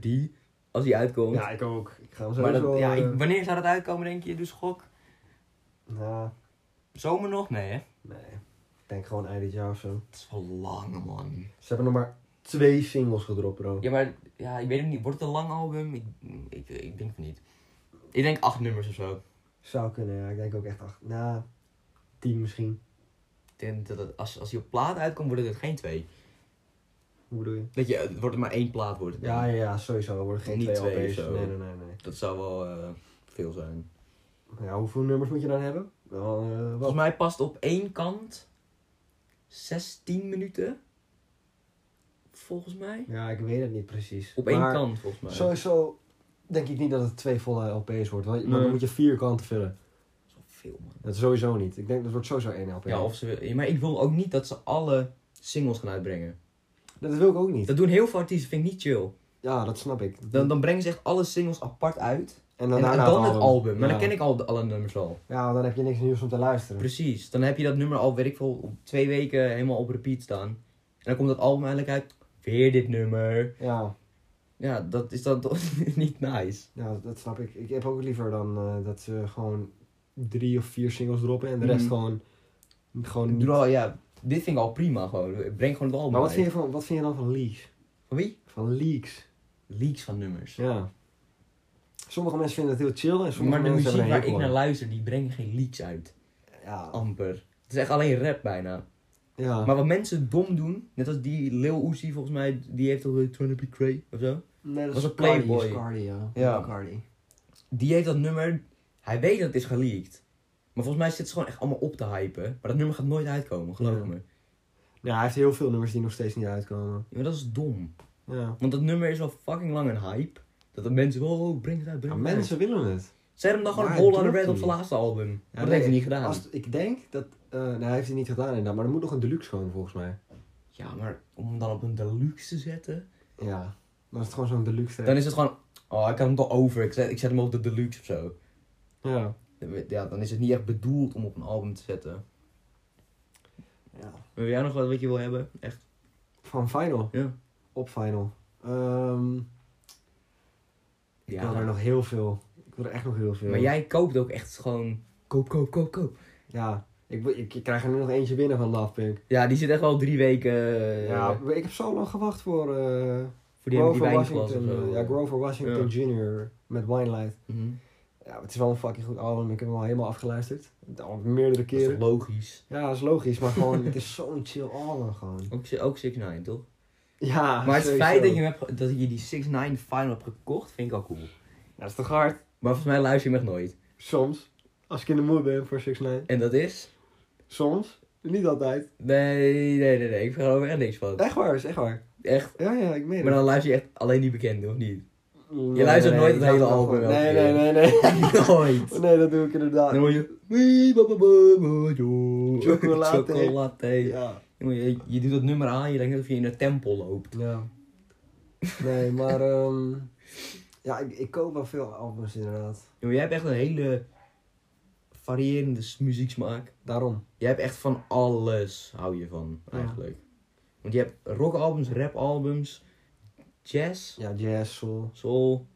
[SPEAKER 2] Die, als die uitkomt.
[SPEAKER 1] Ja, ik ook. Ik ga hem
[SPEAKER 2] maar dat-
[SPEAKER 1] sowieso...
[SPEAKER 2] ja,
[SPEAKER 1] eh,
[SPEAKER 2] ik- wanneer zou dat uitkomen, denk je? Dus gok.
[SPEAKER 1] nou,
[SPEAKER 2] Zomer nog? Nee, hè?
[SPEAKER 1] nee. Ik denk gewoon eind dit jaar of zo.
[SPEAKER 2] Dat is wel lang, man.
[SPEAKER 1] Ze hebben nog maar twee singles gedropt, bro.
[SPEAKER 2] Ja, maar ja, ik weet het niet. Wordt het een lang album? Ik, ik, ik denk van niet. Ik denk acht nummers of zo.
[SPEAKER 1] Zou kunnen, ja. Ik denk ook echt acht. Nou, tien misschien.
[SPEAKER 2] Ik denk dat het- als, als die op plaat uitkomt, worden het geen twee.
[SPEAKER 1] Hoe bedoel je?
[SPEAKER 2] Dat je, het wordt er maar één plaat wordt. het
[SPEAKER 1] Ja,
[SPEAKER 2] dan.
[SPEAKER 1] ja, ja sowieso. Er worden geen
[SPEAKER 2] Niet
[SPEAKER 1] twee,
[SPEAKER 2] twee
[SPEAKER 1] LP's.
[SPEAKER 2] of zo.
[SPEAKER 1] Nee, nee, nee, nee.
[SPEAKER 2] Dat zou wel eh, veel zijn.
[SPEAKER 1] Ja, hoeveel nummers moet je dan hebben? Wel, eh, wel-
[SPEAKER 2] Volgens mij past op één kant 16 minuten. Volgens mij.
[SPEAKER 1] Ja, ik weet het niet precies.
[SPEAKER 2] Op één
[SPEAKER 1] Maar
[SPEAKER 2] kant, volgens mij.
[SPEAKER 1] Sowieso denk ik niet dat het twee volle LP's wordt. Want want
[SPEAKER 2] Nee.
[SPEAKER 1] dan moet je vier kanten vullen.
[SPEAKER 2] Dat is wel veel, man.
[SPEAKER 1] Dat sowieso niet. Ik denk dat wordt sowieso één LP.
[SPEAKER 2] Ja, of ze, wil- maar ik wil ook niet dat ze alle singles gaan uitbrengen.
[SPEAKER 1] Dat wil ik ook niet.
[SPEAKER 2] Dat doen heel veel artiesten, vind ik niet chill.
[SPEAKER 1] Ja, dat snap ik.
[SPEAKER 2] Dan, dan brengen ze echt alle singles apart uit.
[SPEAKER 1] en
[SPEAKER 2] En,
[SPEAKER 1] dan,
[SPEAKER 2] en
[SPEAKER 1] daarna
[SPEAKER 2] dan het album. Maar
[SPEAKER 1] Ja.
[SPEAKER 2] dan ken ik al de- alle nummers al.
[SPEAKER 1] Ja, dan heb je niks nieuws om te luisteren.
[SPEAKER 2] Precies. Dan heb je dat nummer al, weet ik veel, op twee weken helemaal op repeat staan. En dan komt dat album eigenlijk uit. Weer dit nummer.
[SPEAKER 1] Ja,
[SPEAKER 2] Ja, dat is dan toch niet nice.
[SPEAKER 1] ja, dat snap ik. Ik heb ook liever dan eh, dat ze gewoon drie of vier singles droppen en de rest
[SPEAKER 2] Mhm.
[SPEAKER 1] gewoon, gewoon
[SPEAKER 2] Ik
[SPEAKER 1] niet.
[SPEAKER 2] bedoel, ja, dit vind ik al prima gewoon. Breng gewoon het album
[SPEAKER 1] Maar wat
[SPEAKER 2] uit.
[SPEAKER 1] vind, je van, wat vind je dan van leaks?
[SPEAKER 2] Van wie?
[SPEAKER 1] Van leaks.
[SPEAKER 2] Leaks van nummers.
[SPEAKER 1] Ja. Sommige mensen vinden het heel chill en sommige
[SPEAKER 2] maar de
[SPEAKER 1] mensen
[SPEAKER 2] muziek
[SPEAKER 1] hebben er
[SPEAKER 2] waar
[SPEAKER 1] hekel
[SPEAKER 2] ik naar
[SPEAKER 1] aan.
[SPEAKER 2] luister, die brengen geen leaks uit.
[SPEAKER 1] Ja,
[SPEAKER 2] Amper. Het is echt alleen rap bijna.
[SPEAKER 1] ja.
[SPEAKER 2] Maar wat mensen dom doen, net als die Lil Uzi volgens mij, die heeft toch eh, Tryna Be Cray of zo.
[SPEAKER 1] nee, dat
[SPEAKER 2] was
[SPEAKER 1] is
[SPEAKER 2] een
[SPEAKER 1] Cardi,
[SPEAKER 2] playboy.
[SPEAKER 1] is Cardi, ja.
[SPEAKER 2] Ja.
[SPEAKER 1] Cardi.
[SPEAKER 2] Die heeft dat nummer, hij weet dat het is geleakt. Maar volgens mij zit ze gewoon echt allemaal op te hypen. Maar dat nummer gaat nooit uitkomen, geloof
[SPEAKER 1] Ja.
[SPEAKER 2] me.
[SPEAKER 1] Ja, hij heeft heel veel nummers die nog steeds niet uitkomen.
[SPEAKER 2] Ja, maar dat is dom.
[SPEAKER 1] Ja.
[SPEAKER 2] Want dat nummer is al fucking lang een hype. Dat de mensen, oh, oh, breng het uit, breng
[SPEAKER 1] Maar
[SPEAKER 2] het uit.
[SPEAKER 1] mensen willen het.
[SPEAKER 2] Zet hem dan gewoon
[SPEAKER 1] Maar
[SPEAKER 2] op All
[SPEAKER 1] hij
[SPEAKER 2] Out
[SPEAKER 1] doet
[SPEAKER 2] Red
[SPEAKER 1] het
[SPEAKER 2] op zijn
[SPEAKER 1] niet.
[SPEAKER 2] laatste album. maar dat
[SPEAKER 1] nee,
[SPEAKER 2] heeft hij niet gedaan.
[SPEAKER 1] Als, ik denk dat... eh nou, hij heeft het niet gedaan inderdaad, maar er moet nog een deluxe komen volgens mij.
[SPEAKER 2] Ja, maar om hem dan op een deluxe te zetten.
[SPEAKER 1] Ja. Dan is het gewoon zo'n deluxe track.
[SPEAKER 2] Dan is het gewoon, oh, ik had hem toch over. Ik zet, ik zet hem op de deluxe of zo.
[SPEAKER 1] Ja.
[SPEAKER 2] Ja, dan is het niet echt bedoeld om op een album te zetten.
[SPEAKER 1] ja.
[SPEAKER 2] Wil jij nog wat wat je wil hebben? Echt?
[SPEAKER 1] Van Final.
[SPEAKER 2] Ja.
[SPEAKER 1] Op Final. Ehm Ik wil er
[SPEAKER 2] Ja.
[SPEAKER 1] nog heel veel. Ik wil er echt nog heel veel.
[SPEAKER 2] Maar jij koopt ook echt gewoon... Koop, koop, koop, koop.
[SPEAKER 1] Ja. Ik, wil- ik, ik krijg er nu nog eentje binnen van Love Pink.
[SPEAKER 2] Ja, die zit echt al drie weken... eh,
[SPEAKER 1] ja, maar ik heb zo lang gewacht voor... eh
[SPEAKER 2] Voor die, die
[SPEAKER 1] Grover
[SPEAKER 2] wijnglas of
[SPEAKER 1] Washington.
[SPEAKER 2] zo.
[SPEAKER 1] eh, ja, Grover Washington Jr. met Wine Light.
[SPEAKER 2] Mhm.
[SPEAKER 1] Ja, het is wel een fucking goed album. Ik heb hem al helemaal afgeluisterd. Al meerdere
[SPEAKER 2] Dat is toch
[SPEAKER 1] keren.
[SPEAKER 2] logisch.
[SPEAKER 1] Ja, dat is logisch, maar gewoon, het is zo'n chill album gewoon.
[SPEAKER 2] Ook, ook 6 9 toch?
[SPEAKER 1] Ja,
[SPEAKER 2] maar het
[SPEAKER 1] Ah, sowieso.
[SPEAKER 2] feit dat je, hem hebt, ge- dat je die 6 9 final hebt gekocht, vind ik al cool.
[SPEAKER 1] Dat is toch hard?
[SPEAKER 2] Maar volgens mij luister je hem echt nooit.
[SPEAKER 1] Soms. Als ik in de mood ben voor 6 9
[SPEAKER 2] En dat is...
[SPEAKER 1] Soms. Niet altijd.
[SPEAKER 2] Nee, nee, nee, nee. Ik verhaal er echt niks van.
[SPEAKER 1] Echt waar, is echt waar.
[SPEAKER 2] Echt.
[SPEAKER 1] Ja, ja, ik meen
[SPEAKER 2] Maar
[SPEAKER 1] het.
[SPEAKER 2] dan luister je echt alleen die bekende, of niet?
[SPEAKER 1] Nee,
[SPEAKER 2] luistert
[SPEAKER 1] nee,
[SPEAKER 2] nooit
[SPEAKER 1] ik
[SPEAKER 2] het hele
[SPEAKER 1] dacht wel
[SPEAKER 2] album
[SPEAKER 1] van-
[SPEAKER 2] elke
[SPEAKER 1] Nee,
[SPEAKER 2] keer.
[SPEAKER 1] nee, nee, nee.
[SPEAKER 2] nooit.
[SPEAKER 1] Nee, dat doe ik inderdaad.
[SPEAKER 2] Dan hoor je... "Wee, ba, ba, ba, ba, jo."
[SPEAKER 1] Chocolate.
[SPEAKER 2] Chocolate.
[SPEAKER 1] Ja.
[SPEAKER 2] Jongen, Je, je doet dat nummer aan, je denkt alsof je in een tempel loopt.
[SPEAKER 1] Ja. Nee, maar ehm ja, ik, ik koop wel veel albums inderdaad.
[SPEAKER 2] Jongen, jij hebt echt een hele variërende s- muzieksmaak.
[SPEAKER 1] Daarom.
[SPEAKER 2] Jij hebt echt van alles, hou je van,
[SPEAKER 1] Ja.
[SPEAKER 2] eigenlijk. Want je hebt rockalbums, rapalbums, jazz,
[SPEAKER 1] Ja, jazz, soul.
[SPEAKER 2] soul,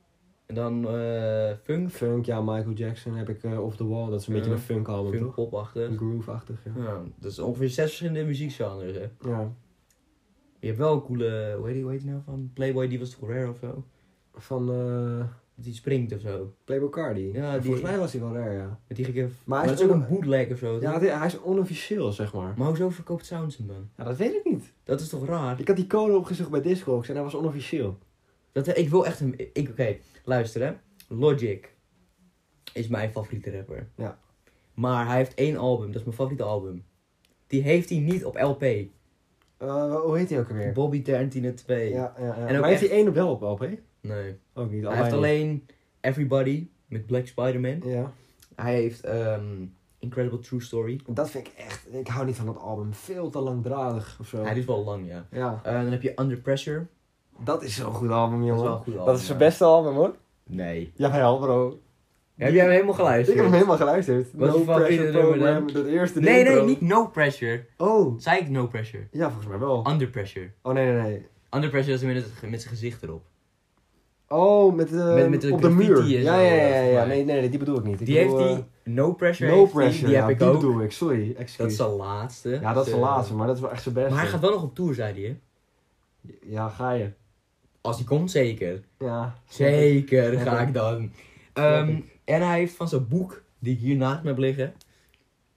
[SPEAKER 2] en dan eh funk,
[SPEAKER 1] Funk, ja, Michael Jackson heb ik eh Off The Wall. Dat is een beetje
[SPEAKER 2] Ja.
[SPEAKER 1] een funk album,
[SPEAKER 2] funk
[SPEAKER 1] toch?
[SPEAKER 2] popachtig.
[SPEAKER 1] Groove-achtig, ja.
[SPEAKER 2] Ja, dat is ongeveer zes verschillende muziekgenres, hè.
[SPEAKER 1] Ja.
[SPEAKER 2] Je hebt wel een coole, hoe heet die, hoe heet die nou van? Playboy, die was toch rare of zo?
[SPEAKER 1] Van eh
[SPEAKER 2] Dat die springt of zo.
[SPEAKER 1] Playboy Cardi.
[SPEAKER 2] Ja, die-
[SPEAKER 1] Volgens mij was hij wel rare, ja.
[SPEAKER 2] Met die gekke... Maar,
[SPEAKER 1] hij is
[SPEAKER 2] dat is ook
[SPEAKER 1] ook-
[SPEAKER 2] een bootleg of zo.
[SPEAKER 1] Ja,
[SPEAKER 2] toch?
[SPEAKER 1] hij- hij is onofficieel, zeg maar.
[SPEAKER 2] Maar hoezo verkoopt Sounds hem dan?
[SPEAKER 1] Ja, dat weet ik niet.
[SPEAKER 2] Dat is toch raar?
[SPEAKER 1] Ik had die code opgezocht bij Discogs en hij was onofficieel.
[SPEAKER 2] Dat, ik wil echt een... ik- Oké, luister hè. Logic is mijn favoriete rapper.
[SPEAKER 1] Ja.
[SPEAKER 2] Maar hij heeft één album, dat is mijn favoriete album. Die heeft hij niet op LP.
[SPEAKER 1] Eh, hoe heet hij ook alweer?
[SPEAKER 2] Bobby Tarantino 2.
[SPEAKER 1] Ja, ja, ja.
[SPEAKER 2] En ook
[SPEAKER 1] maar heeft hij één op wel op LP?
[SPEAKER 2] Nee.
[SPEAKER 1] Ook niet.
[SPEAKER 2] Hij heeft alleen Everybody met Black Spider-Man.
[SPEAKER 1] Ja.
[SPEAKER 2] Hij heeft ehm, Incredible True Story.
[SPEAKER 1] Dat vind ik echt... Ik hou niet van dat album. Veel te langdradig of zo.
[SPEAKER 2] Hij is wel lang, ja.
[SPEAKER 1] Ja.
[SPEAKER 2] Eh, dan heb je Under Pressure.
[SPEAKER 1] Dat is zo'n goed album,
[SPEAKER 2] Dat is
[SPEAKER 1] jongen.
[SPEAKER 2] wel een goed album. ja.
[SPEAKER 1] beste album, hoor.
[SPEAKER 2] Nee.
[SPEAKER 1] Jawel, bro.
[SPEAKER 2] Heb jij hem helemaal geluisterd?
[SPEAKER 1] Ik heb hem helemaal geluisterd.
[SPEAKER 2] Wat
[SPEAKER 1] no
[SPEAKER 2] is je favoriete
[SPEAKER 1] Pressure
[SPEAKER 2] nummer
[SPEAKER 1] Program, dat eerste
[SPEAKER 2] Nee,
[SPEAKER 1] intro.
[SPEAKER 2] nee, niet no pressure.
[SPEAKER 1] Oh,
[SPEAKER 2] Zei ik no pressure?
[SPEAKER 1] ja, volgens mij wel.
[SPEAKER 2] Under pressure.
[SPEAKER 1] Oh, nee, nee, nee.
[SPEAKER 2] Under pressure is met, het- met zijn gezicht erop.
[SPEAKER 1] Oh, met, eh,
[SPEAKER 2] Met- met de
[SPEAKER 1] op de muur.
[SPEAKER 2] graffiti en
[SPEAKER 1] Ja,
[SPEAKER 2] zo,
[SPEAKER 1] ja, ja, ja,
[SPEAKER 2] eh, volgens mij.
[SPEAKER 1] Nee, nee, nee, die bedoel ik niet. Ik
[SPEAKER 2] Die heeft
[SPEAKER 1] bedoel, eh,
[SPEAKER 2] die no pressure.
[SPEAKER 1] No
[SPEAKER 2] heeft die,
[SPEAKER 1] pressure,
[SPEAKER 2] Die
[SPEAKER 1] ja,
[SPEAKER 2] heb ik
[SPEAKER 1] die
[SPEAKER 2] ook.
[SPEAKER 1] bedoel ik, sorry. Excuus.
[SPEAKER 2] Dat is zijn laatste.
[SPEAKER 1] ja, dat is de
[SPEAKER 2] Eh,
[SPEAKER 1] laatste, maar dat is wel echt zijn beste.
[SPEAKER 2] Maar hij gaat wel nog op tour, zei hij. hè?
[SPEAKER 1] Ja, ga je.
[SPEAKER 2] Als hij komt, zeker.
[SPEAKER 1] Ja.
[SPEAKER 2] Zeker
[SPEAKER 1] Snap
[SPEAKER 2] ga
[SPEAKER 1] ik.
[SPEAKER 2] ik dan.
[SPEAKER 1] Snap
[SPEAKER 2] Ehm, en hij heeft van zijn boek, die ik hier naast me heb liggen.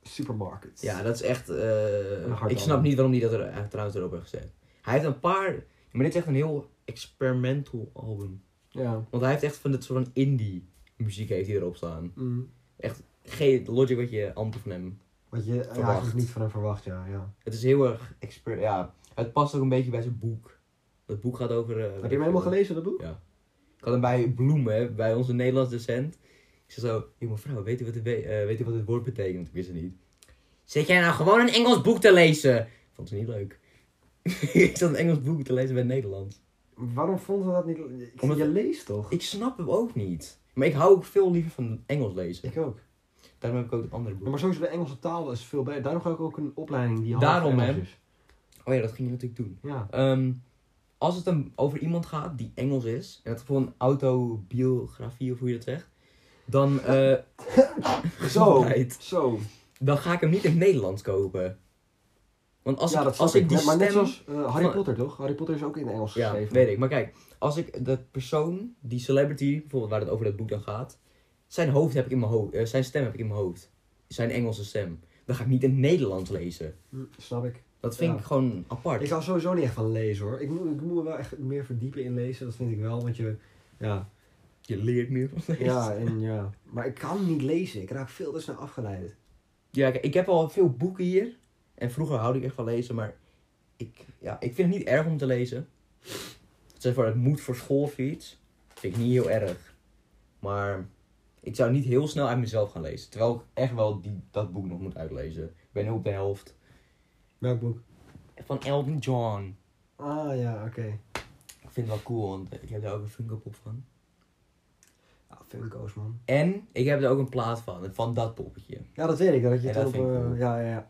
[SPEAKER 1] Supermarkets.
[SPEAKER 2] Ja, dat is echt... eh,
[SPEAKER 1] Een hard
[SPEAKER 2] ik snap
[SPEAKER 1] album.
[SPEAKER 2] niet waarom hij dat er eh, trouwens erop heeft gezet. Hij heeft een paar... Maar dit is echt een heel experimental album.
[SPEAKER 1] Ja.
[SPEAKER 2] Want hij heeft echt van dit soort van indie muziek heeft hij erop staan.
[SPEAKER 1] Mm.
[SPEAKER 2] Geen logic wat je amper van hem.
[SPEAKER 1] Wat je
[SPEAKER 2] Verwacht.
[SPEAKER 1] eigenlijk niet van hem verwacht, ja. ja.
[SPEAKER 2] Het is heel erg... Exper ja, het past ook een beetje bij zijn boek. Dat boek gaat over... eh,
[SPEAKER 1] Heb je hem helemaal gelezen, dat boek?
[SPEAKER 2] Ik had hem bij Bloem, hè, bij onze Nederlands docent. Ik zei zo, joh mevrouw, weet u, wat het, we- eh, weet u wat het woord betekent? Ik wist het niet. Zit jij nou gewoon een Engels boek te lezen? Vond ze niet leuk. ik zat een Engels boek te lezen bij het Nederlands.
[SPEAKER 1] Waarom vond ze dat niet... Ik,
[SPEAKER 2] Omdat-
[SPEAKER 1] Je leest toch?
[SPEAKER 2] Ik snap hem ook niet. Maar ik hou ook veel liever van Engels lezen.
[SPEAKER 1] Ik ook.
[SPEAKER 2] Daarom heb ik ook het andere
[SPEAKER 1] Ja,
[SPEAKER 2] boek.
[SPEAKER 1] maar sowieso de Engelse taal is veel beter. Daarom ga ik ook een opleiding die half
[SPEAKER 2] Daarom,
[SPEAKER 1] Engels
[SPEAKER 2] hè?
[SPEAKER 1] is.
[SPEAKER 2] Oh ja, dat ging je natuurlijk doen.
[SPEAKER 1] Ja.
[SPEAKER 2] Ehm, als het dan over iemand gaat die Engels is, en het is voor een autobiografie of hoe je dat zegt, dan, eh,
[SPEAKER 1] Zo.
[SPEAKER 2] Gezondheid.
[SPEAKER 1] Zo.
[SPEAKER 2] dan ga ik hem niet in het Nederlands kopen. Want als
[SPEAKER 1] ja,
[SPEAKER 2] ik,
[SPEAKER 1] dat
[SPEAKER 2] als
[SPEAKER 1] snap
[SPEAKER 2] ik die
[SPEAKER 1] Maar- Maar net
[SPEAKER 2] stem...
[SPEAKER 1] zoals eh, Harry
[SPEAKER 2] van-
[SPEAKER 1] Potter, toch? Harry Potter is ook in Engels
[SPEAKER 2] Ja,
[SPEAKER 1] geschreven.
[SPEAKER 2] weet ik. Maar kijk, als ik dat persoon, die celebrity, bijvoorbeeld waar het over dat boek dan gaat, zijn hoofd heb ik in mijn hoofd, eh, zijn stem heb ik in mijn hoofd. Zijn Engelse stem. Dan ga ik niet in het Nederlands lezen.
[SPEAKER 1] Hm, Snap ik.
[SPEAKER 2] Dat vind
[SPEAKER 1] Ja.
[SPEAKER 2] ik gewoon apart.
[SPEAKER 1] Ik hou sowieso niet echt van lezen hoor. Ik moet, ik moet me wel echt meer verdiepen in lezen, dat vind ik wel. Want je. Ja,
[SPEAKER 2] Je leert meer van lezen. Ja,
[SPEAKER 1] ja, en ja. Maar ik kan niet lezen. Ik raak veel te snel afgeleid.
[SPEAKER 2] kijk, ik heb al veel boeken hier. En vroeger houde ik echt van lezen, maar ik, ja, ik vind het niet erg om te lezen. Zeg maar, het moet voor school of iets. Vind ik niet heel erg. Maar ik zou niet heel snel uit mezelf gaan lezen. Terwijl ik echt wel die, dat boek nog moet uitlezen. Ik ben nu op de helft.
[SPEAKER 1] Welk boek?
[SPEAKER 2] Van Elton John.
[SPEAKER 1] Ah ja, oké.
[SPEAKER 2] Ik vind het wel cool, want ik heb daar ook een Funko Pop van.
[SPEAKER 1] Ja, Funko's Ah, man.
[SPEAKER 2] En ik heb er ook een plaat van, van dat poppetje.
[SPEAKER 1] Ja, dat weet ik. Dat je
[SPEAKER 2] Ja,
[SPEAKER 1] het
[SPEAKER 2] dat
[SPEAKER 1] op.
[SPEAKER 2] vind ik
[SPEAKER 1] eh,
[SPEAKER 2] cool.
[SPEAKER 1] Ja, ja, ja.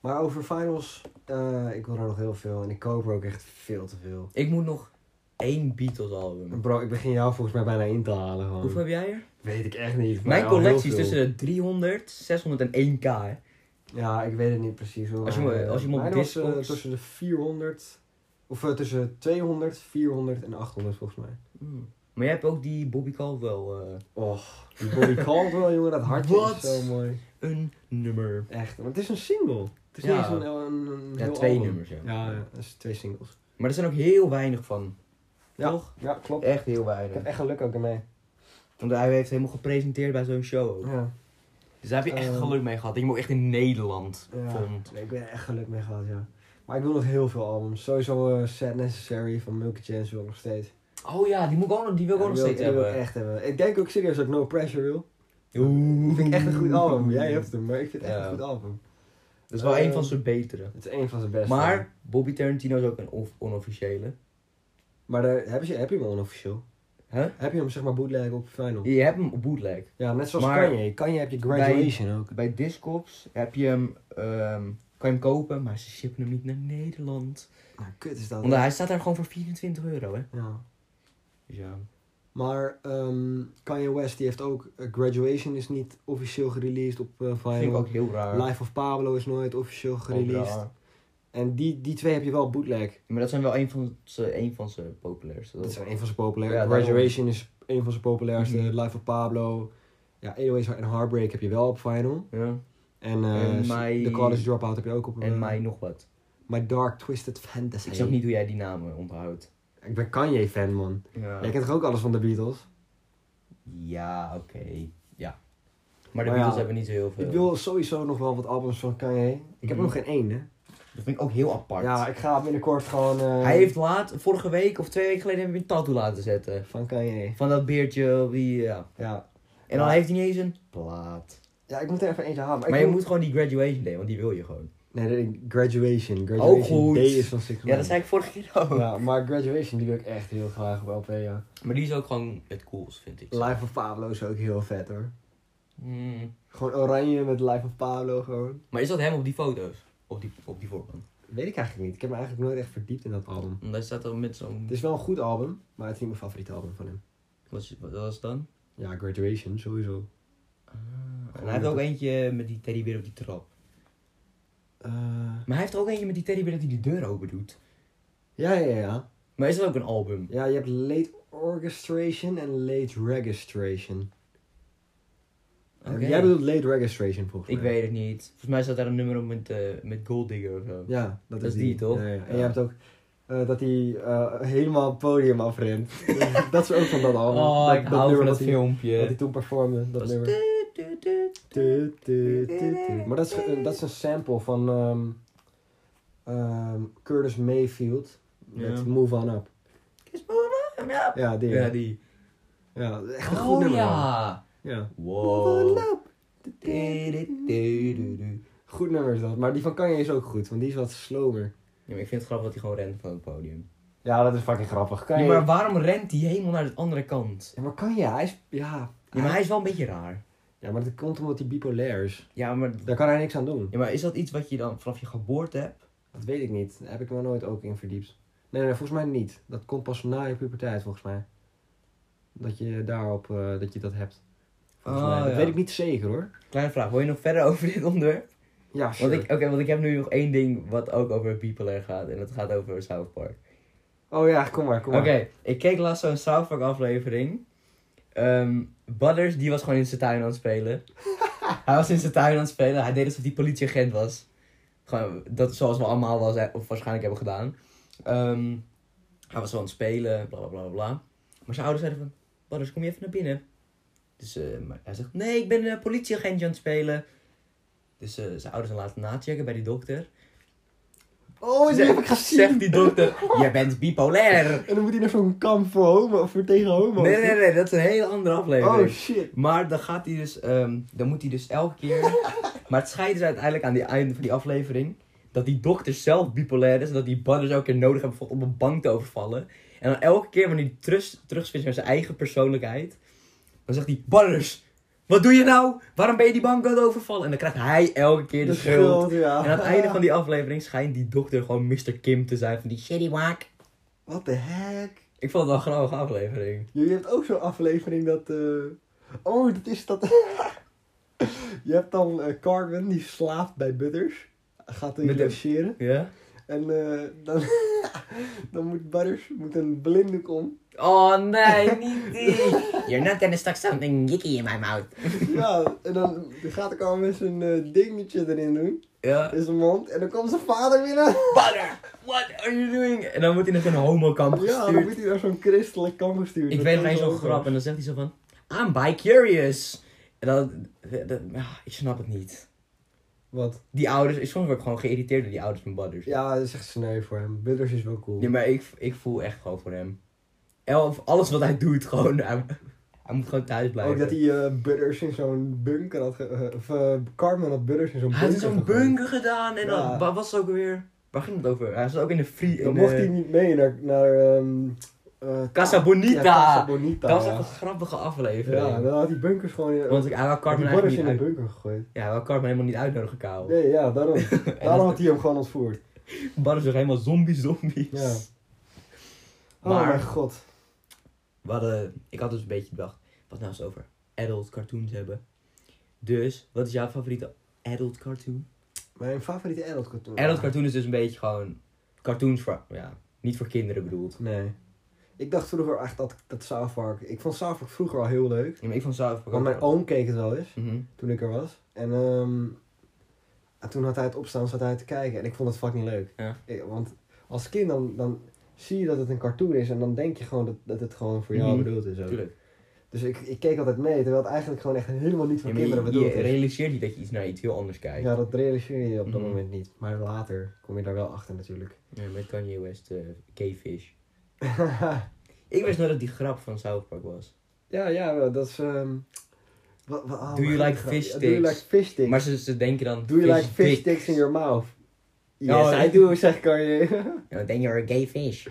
[SPEAKER 1] Maar over finals, eh, ik wil er nog heel veel. En ik koop er ook echt veel te veel.
[SPEAKER 2] Ik moet nog één Beatles album.
[SPEAKER 1] Bro, ik begin jou volgens mij bijna in te halen gewoon.
[SPEAKER 2] Hoeveel heb jij er?
[SPEAKER 1] Weet ik echt niet. maar
[SPEAKER 2] Mijn
[SPEAKER 1] al heel
[SPEAKER 2] collectie is
[SPEAKER 1] veel.
[SPEAKER 2] tussen de 300, 601 k. hè.
[SPEAKER 1] Ja, ik weet het niet precies hoor.
[SPEAKER 2] Als je me-
[SPEAKER 1] maar,
[SPEAKER 2] als je me op
[SPEAKER 1] eh, mijn was, eh,
[SPEAKER 2] Discogs-
[SPEAKER 1] tussen de 400... Of eh, tussen 200, 400 en 800 volgens mij.
[SPEAKER 2] Hmm. Maar jij hebt ook die Bobby Caldwell eh
[SPEAKER 1] Och, die Bobby Caldwell, jongen, dat hartje
[SPEAKER 2] Wat?
[SPEAKER 1] is zo mooi.
[SPEAKER 2] een nummer.
[SPEAKER 1] Echt, maar het is een single. Het is
[SPEAKER 2] Ja.
[SPEAKER 1] niet eens een, een, een
[SPEAKER 2] Ja,
[SPEAKER 1] heel
[SPEAKER 2] twee
[SPEAKER 1] album.
[SPEAKER 2] nummers, ja.
[SPEAKER 1] Ja, ja, dat is twee singles.
[SPEAKER 2] Maar er zijn ook heel weinig van.
[SPEAKER 1] Ja.
[SPEAKER 2] Toch?
[SPEAKER 1] Ja, klopt.
[SPEAKER 2] Echt heel
[SPEAKER 1] Ik heb
[SPEAKER 2] weinig.
[SPEAKER 1] echt geluk ook ermee.
[SPEAKER 2] Want hij heeft helemaal gepresenteerd bij zo'n show ook.
[SPEAKER 1] Ja.
[SPEAKER 2] Dus daar heb je echt
[SPEAKER 1] Ehm.
[SPEAKER 2] geluk mee gehad. Dat je hem ook echt in Nederland
[SPEAKER 1] ja.
[SPEAKER 2] vond.
[SPEAKER 1] Nee, ik ben er echt geluk mee gehad, ja. Maar ik wil nog heel veel albums. Sowieso eh, Sad Necessary van Milky Chance wil ik nog steeds.
[SPEAKER 2] Oh ja, die, moet ik ook nog, die wil ik
[SPEAKER 1] Ja,
[SPEAKER 2] ook nog
[SPEAKER 1] die wil-
[SPEAKER 2] steeds
[SPEAKER 1] die wil ik
[SPEAKER 2] hebben.
[SPEAKER 1] echt hebben. Ik denk ook serieus dat ik No Pressure wil.
[SPEAKER 2] Oeh.
[SPEAKER 1] vind ik echt een goed album. Jij hebt hem, maar ik vind het echt
[SPEAKER 2] Ja.
[SPEAKER 1] een goed album.
[SPEAKER 2] Dat is wel
[SPEAKER 1] Eh,
[SPEAKER 2] een van zijn betere.
[SPEAKER 1] Het is een van zijn beste.
[SPEAKER 2] Maar Bobby Tarantino is ook een on- onofficiële.
[SPEAKER 1] Maar daar, heb, je, heb je hem onofficieel?
[SPEAKER 2] Huh?
[SPEAKER 1] Heb je hem zeg maar bootleg op final?
[SPEAKER 2] Je hebt hem op bootleg.
[SPEAKER 1] Ja, net zoals
[SPEAKER 2] Maar-
[SPEAKER 1] Kanye. Kanye heb je graduation ook.
[SPEAKER 2] Bij Discogs heb je hem, ehm, kan je hem kopen, maar ze shippen hem niet naar Nederland.
[SPEAKER 1] Nou, kut is dat.
[SPEAKER 2] Want hij staat daar gewoon voor 24 euro, hè?
[SPEAKER 1] Ja.
[SPEAKER 2] Ja.
[SPEAKER 1] Maar ehm, Kanye West die heeft ook... eh, graduation is niet officieel gereleased op eh
[SPEAKER 2] Dat vind ik
[SPEAKER 1] final.
[SPEAKER 2] ook heel raar.
[SPEAKER 1] Life of Pablo is nooit officieel
[SPEAKER 2] Ook raar.
[SPEAKER 1] gereleased. En die, die twee heb je wel bootleg.
[SPEAKER 2] Maar dat zijn wel een van zijn, een van zijn populairste.
[SPEAKER 1] Dat zijn een van zijn populairste.
[SPEAKER 2] Ja, daarom.
[SPEAKER 1] graduation is een van zijn populairste.
[SPEAKER 2] Mhm.
[SPEAKER 1] Life of Pablo. Ja, Anyways en Heartbreak heb je wel op final.
[SPEAKER 2] Ja.
[SPEAKER 1] En
[SPEAKER 2] En
[SPEAKER 1] eh
[SPEAKER 2] My-
[SPEAKER 1] The College Dropout heb je ook op...
[SPEAKER 2] En
[SPEAKER 1] eh,
[SPEAKER 2] mij nog wat.
[SPEAKER 1] My Dark Twisted Fantasy.
[SPEAKER 2] Ik snap niet hoe jij die namen onthoudt.
[SPEAKER 1] Ik ben Kanye-fan, man.
[SPEAKER 2] Ja,
[SPEAKER 1] Jij kent toch ook alles van de Beatles?
[SPEAKER 2] ja oké. Ja. Maar de
[SPEAKER 1] Maar ja,
[SPEAKER 2] Beatles hebben niet zo heel veel.
[SPEAKER 1] Ik wil sowieso nog wel wat albums van Kanye. Ik heb er
[SPEAKER 2] Mhm.
[SPEAKER 1] nog geen één, hè?
[SPEAKER 2] Dat vind ik ook heel apart.
[SPEAKER 1] Ja, ik ga binnenkort gewoon... eh,
[SPEAKER 2] Hij heeft laat, vorige week of twee weken geleden, heb ik een tattoo laten zetten.
[SPEAKER 1] Van Kanye.
[SPEAKER 2] Van dat beertje, op die, ja.
[SPEAKER 1] Ja.
[SPEAKER 2] En dan heeft hij niet eens een plaat.
[SPEAKER 1] Ja, ik moet er even eentje halen. Maar,
[SPEAKER 2] Maar
[SPEAKER 1] ik
[SPEAKER 2] je moet gewoon die graduation day, want die wil je gewoon.
[SPEAKER 1] Nee, nee, Graduation. Graduation
[SPEAKER 2] goed.
[SPEAKER 1] Day is van Six
[SPEAKER 2] Ja,
[SPEAKER 1] Nine.
[SPEAKER 2] dat zei ik vorige keer ook.
[SPEAKER 1] Ja, maar Graduation die wil ik echt heel graag op LP, ja.
[SPEAKER 2] Maar die is ook gewoon het coolst, vind ik.
[SPEAKER 1] Life of Pablo is ook heel vet hoor.
[SPEAKER 2] Hmm.
[SPEAKER 1] Gewoon oranje met Life of Pablo gewoon.
[SPEAKER 2] Maar is dat hem op die foto's? Op die, op die voorkant?
[SPEAKER 1] Weet ik eigenlijk niet. Ik heb me eigenlijk nooit echt verdiept in dat album.
[SPEAKER 2] Want Daar staat dan met zo'n...
[SPEAKER 1] Het is wel een goed album, maar het is niet mijn favoriete album van hem.
[SPEAKER 2] Wat is- wat was het dan? Oh,
[SPEAKER 1] Ja, Graduation sowieso.
[SPEAKER 2] Ah, en hij heeft ook eentje met die teddybeer op die trap.
[SPEAKER 1] Eh,
[SPEAKER 2] Maar hij heeft er ook eentje met die teddybeer dat hij de deur open doet.
[SPEAKER 1] ja, ja, ja.
[SPEAKER 2] Maar is dat ook een album?
[SPEAKER 1] Ja, je hebt Late Orchestration en Late Registration. En
[SPEAKER 2] Oké.
[SPEAKER 1] Jij bedoelt Late Registration volgens
[SPEAKER 2] Ik
[SPEAKER 1] mij.
[SPEAKER 2] weet het niet. Volgens mij staat daar een nummer op met, eh met Gold Digger of zo.
[SPEAKER 1] Ja, dat,
[SPEAKER 2] Dat is die, toch?
[SPEAKER 1] Ja, ja. En
[SPEAKER 2] Ja.
[SPEAKER 1] je hebt ook eh, dat hij eh, helemaal het podium afrent. dat is ook van dat album.
[SPEAKER 2] Oh,
[SPEAKER 1] dat,
[SPEAKER 2] ik hou van
[SPEAKER 1] nummer
[SPEAKER 2] dat
[SPEAKER 1] wat hij- Wat hij
[SPEAKER 2] filmpje.
[SPEAKER 1] toen performde, dat
[SPEAKER 2] Dat is
[SPEAKER 1] nummer.
[SPEAKER 2] tu, tu, tu.
[SPEAKER 1] Tu, tu, tu, tu. Maar dat is, eh, dat is een sample van ehm, ehm, Curtis Mayfield met
[SPEAKER 2] Ja.
[SPEAKER 1] Move On Up.
[SPEAKER 2] Kiss me on up.
[SPEAKER 1] Ja, die.
[SPEAKER 2] Ja,
[SPEAKER 1] Ja,
[SPEAKER 2] die.
[SPEAKER 1] echt een goed
[SPEAKER 2] Oh
[SPEAKER 1] nummer. man.
[SPEAKER 2] ja. Oh.
[SPEAKER 1] ja.
[SPEAKER 2] Wow.
[SPEAKER 1] Move on up. Goed nummer is dat. Maar die van Kanye is ook goed, want die is wat slower.
[SPEAKER 2] Ja, maar ik vind het grappig dat hij gewoon rent van het podium.
[SPEAKER 1] Ja, dat is fucking grappig. Kanye...
[SPEAKER 2] Ja, maar waarom rent hij helemaal naar de andere kant?
[SPEAKER 1] Ja, maar Kanye, hij is... Ja.
[SPEAKER 2] Ja, maar hij is wel een beetje raar.
[SPEAKER 1] Ja, maar dat komt omdat hij bipolair is.
[SPEAKER 2] Ja, maar,
[SPEAKER 1] Daar kan hij niks aan doen.
[SPEAKER 2] ja, maar is dat iets wat je dan vanaf je geboorte hebt?
[SPEAKER 1] Dat weet ik niet. Daar heb ik me nooit ook in verdiept. Nee, nee, volgens mij niet. Dat komt pas na je puberteit, volgens mij. Dat je daarop, eh, dat je dat hebt. Volgens
[SPEAKER 2] Oh,
[SPEAKER 1] mij. Dat
[SPEAKER 2] ja.
[SPEAKER 1] weet ik niet zeker hoor.
[SPEAKER 2] Kleine vraag, wil je nog verder over dit onderwerp?
[SPEAKER 1] Ja,
[SPEAKER 2] Want
[SPEAKER 1] sure.
[SPEAKER 2] ik, oké, want ik heb nu nog één ding wat ook over bipolair gaat. En dat gaat over South Park.
[SPEAKER 1] Oh ja, kom maar, kom
[SPEAKER 2] Oké,
[SPEAKER 1] maar.
[SPEAKER 2] ik keek laatst zo'n South Park aflevering. Ehm Butters, die was gewoon in zijn tuin aan het spelen. hij was in zijn tuin aan het spelen. Hij deed alsof hij politieagent was. Gewoon, dat is zoals we allemaal wel zijn, of waarschijnlijk hebben gedaan. Ehm, hij was zo aan het spelen, bla bla bla bla. Maar zijn ouders zeiden van, Butters, kom je even naar binnen. Dus eh, maar hij zegt, nee, ik ben een politieagentje aan het spelen. Dus eh, zijn ouders zijn laten nachecken bij die dokter.
[SPEAKER 1] Oh, die
[SPEAKER 2] Zeg-
[SPEAKER 1] heb ik gezien.
[SPEAKER 2] Zegt die dokter, je bent bipolair.
[SPEAKER 1] En dan moet hij naar zo'n kamp voor homo, of voor tegen homo.
[SPEAKER 2] Nee, nee, nee, dat is een hele andere aflevering.
[SPEAKER 1] Oh shit.
[SPEAKER 2] Maar dan gaat hij dus, ehm, dan moet hij dus elke keer. maar het schijnt dus uiteindelijk aan die einde van die aflevering. Dat die dokter zelf bipolair is. En dat die Butters elke keer nodig hebben bijvoorbeeld om een bank te overvallen. En dan elke keer wanneer hij terug, terugswitcht naar zijn eigen persoonlijkheid. Dan zegt hij, Butters, wat doe je nou? Waarom ben je die bank aan het overvallen? En dan krijgt hij elke keer de, schuld.
[SPEAKER 1] ja.
[SPEAKER 2] En aan het einde van die aflevering schijnt die dokter gewoon Mr. Kim te zijn van die shitty whack.
[SPEAKER 1] What the heck?
[SPEAKER 2] Ik vond het wel een grappige aflevering.
[SPEAKER 1] Jullie hebben ook zo'n aflevering dat... eh, Oh, dat is dat... Je hebt dan eh Carmen, die slaapt bij Butters. Gaat hem
[SPEAKER 2] Met de-
[SPEAKER 1] logeren.
[SPEAKER 2] Ja?
[SPEAKER 1] En eh, dan, dan moet Butters moet een blinddoek om.
[SPEAKER 2] Oh nee, niet die. You're not gonna stuck something yicky in my mouth.
[SPEAKER 1] Ja, en dan gaat de kamer met zijn eh, dingetje erin doen.
[SPEAKER 2] Ja.
[SPEAKER 1] In zijn mond. En dan komt zijn vader binnen.
[SPEAKER 2] Butter, what are you doing? En dan wordt hij naar zo'n homokamp
[SPEAKER 1] Ja, dan
[SPEAKER 2] gestuurd.
[SPEAKER 1] moet hij naar zo'n christelijk kamp gestuurd.
[SPEAKER 2] ik
[SPEAKER 1] Dat
[SPEAKER 2] weet
[SPEAKER 1] kan
[SPEAKER 2] nog eens zo'n
[SPEAKER 1] ook
[SPEAKER 2] grap
[SPEAKER 1] wel.
[SPEAKER 2] en dan zegt hij zo van... I'm bi-curious. En dan... dat- ah, ik snap het niet.
[SPEAKER 1] Wat?
[SPEAKER 2] Die ouders... ik- Soms word ik gewoon geïrriteerd door die ouders van Butters.
[SPEAKER 1] Ja, dat is echt sneu voor hem. Butters is wel cool.
[SPEAKER 2] Nee, maar ik, ik voel echt gewoon voor hem. Elf, alles wat hij doet, gewoon... Hij, hij moet gewoon thuis blijven.
[SPEAKER 1] Ook dat hij eh, Butters in zo'n bunker had... ge- eh, of eh, Carmen had Butters in zo'n
[SPEAKER 2] Hij
[SPEAKER 1] bunker
[SPEAKER 2] had in zo'n
[SPEAKER 1] gegooid.
[SPEAKER 2] bunker gedaan en
[SPEAKER 1] Ja.
[SPEAKER 2] dan... Waar was het ook weer? Waar ging het over? Hij zat ook in de free...
[SPEAKER 1] Dan
[SPEAKER 2] in
[SPEAKER 1] mocht
[SPEAKER 2] de-
[SPEAKER 1] hij niet mee naar... naar ehm, eh,
[SPEAKER 2] Casa
[SPEAKER 1] Ja,
[SPEAKER 2] Bonita.
[SPEAKER 1] Casa Bonita.
[SPEAKER 2] Dat was echt
[SPEAKER 1] ja.
[SPEAKER 2] een grappige aflevering.
[SPEAKER 1] Ja, dan had hij bunkers gewoon... In,
[SPEAKER 2] Want ik, hij wil Carmen
[SPEAKER 1] die Butters
[SPEAKER 2] eigenlijk
[SPEAKER 1] in
[SPEAKER 2] niet
[SPEAKER 1] een
[SPEAKER 2] uit...
[SPEAKER 1] bunker gegooid.
[SPEAKER 2] Ja, hij wou Carmen helemaal niet uitnodigen, Karel.
[SPEAKER 1] Nee, ja, daarom.
[SPEAKER 2] En
[SPEAKER 1] Daarom
[SPEAKER 2] dan
[SPEAKER 1] had hij hem gewoon ontvoerd.
[SPEAKER 2] waren ze helemaal zombie-zombies.
[SPEAKER 1] Ja. Oh
[SPEAKER 2] Maar-
[SPEAKER 1] mijn god.
[SPEAKER 2] We hadden, ik had dus een beetje bedacht, wat nou eens over adult cartoons hebben. Dus, wat is jouw favoriete adult cartoon?
[SPEAKER 1] Mijn favoriete adult cartoon.
[SPEAKER 2] Adult cartoon is dus een beetje gewoon cartoons voor, ja, niet voor kinderen bedoeld.
[SPEAKER 1] Nee. Ik dacht vroeger echt dat, dat South Park... Ik vond South Park vroeger al heel leuk.
[SPEAKER 2] Ja, maar ik vond South Park
[SPEAKER 1] Want mijn oom keek het wel eens.
[SPEAKER 2] Mhm.
[SPEAKER 1] Toen ik er was. En, ehm, en toen had hij het opstaan, zat hij te kijken. En ik vond het fucking leuk.
[SPEAKER 2] Ja.
[SPEAKER 1] Ik- want als kind dan, dan zie je dat het een cartoon is. En dan denk je gewoon dat, dat het gewoon voor jou
[SPEAKER 2] Mhm.
[SPEAKER 1] bedoeld is. Ook.
[SPEAKER 2] Tuurlijk.
[SPEAKER 1] Dus ik, ik keek altijd mee. Terwijl het eigenlijk gewoon echt helemaal niet voor
[SPEAKER 2] Ja, maar
[SPEAKER 1] kinderen
[SPEAKER 2] je,
[SPEAKER 1] bedoeld
[SPEAKER 2] je
[SPEAKER 1] is.
[SPEAKER 2] realiseert niet dat je iets naar iets heel anders kijkt.
[SPEAKER 1] Ja, dat realiseer je op dat
[SPEAKER 2] Mhm.
[SPEAKER 1] moment niet. Maar later kom je daar wel achter natuurlijk.
[SPEAKER 2] Ja, met Kanye West, eh K-Fish. Ik wist nooit dat die grap van South Park was.
[SPEAKER 1] ja, ja, dat is... ehm, Wa- wa- oh,
[SPEAKER 2] Do you
[SPEAKER 1] mijn
[SPEAKER 2] like
[SPEAKER 1] god.
[SPEAKER 2] fish
[SPEAKER 1] Ja, Do you
[SPEAKER 2] sticks?
[SPEAKER 1] like fish sticks?
[SPEAKER 2] Maar ze, ze denken dan...
[SPEAKER 1] Do you like
[SPEAKER 2] is
[SPEAKER 1] fish
[SPEAKER 2] dik.
[SPEAKER 1] sticks in your mouth? Yes,
[SPEAKER 2] Oh,
[SPEAKER 1] I
[SPEAKER 2] dat-
[SPEAKER 1] do, zeg Kanye.
[SPEAKER 2] No, then you're a "Oh, gay fish.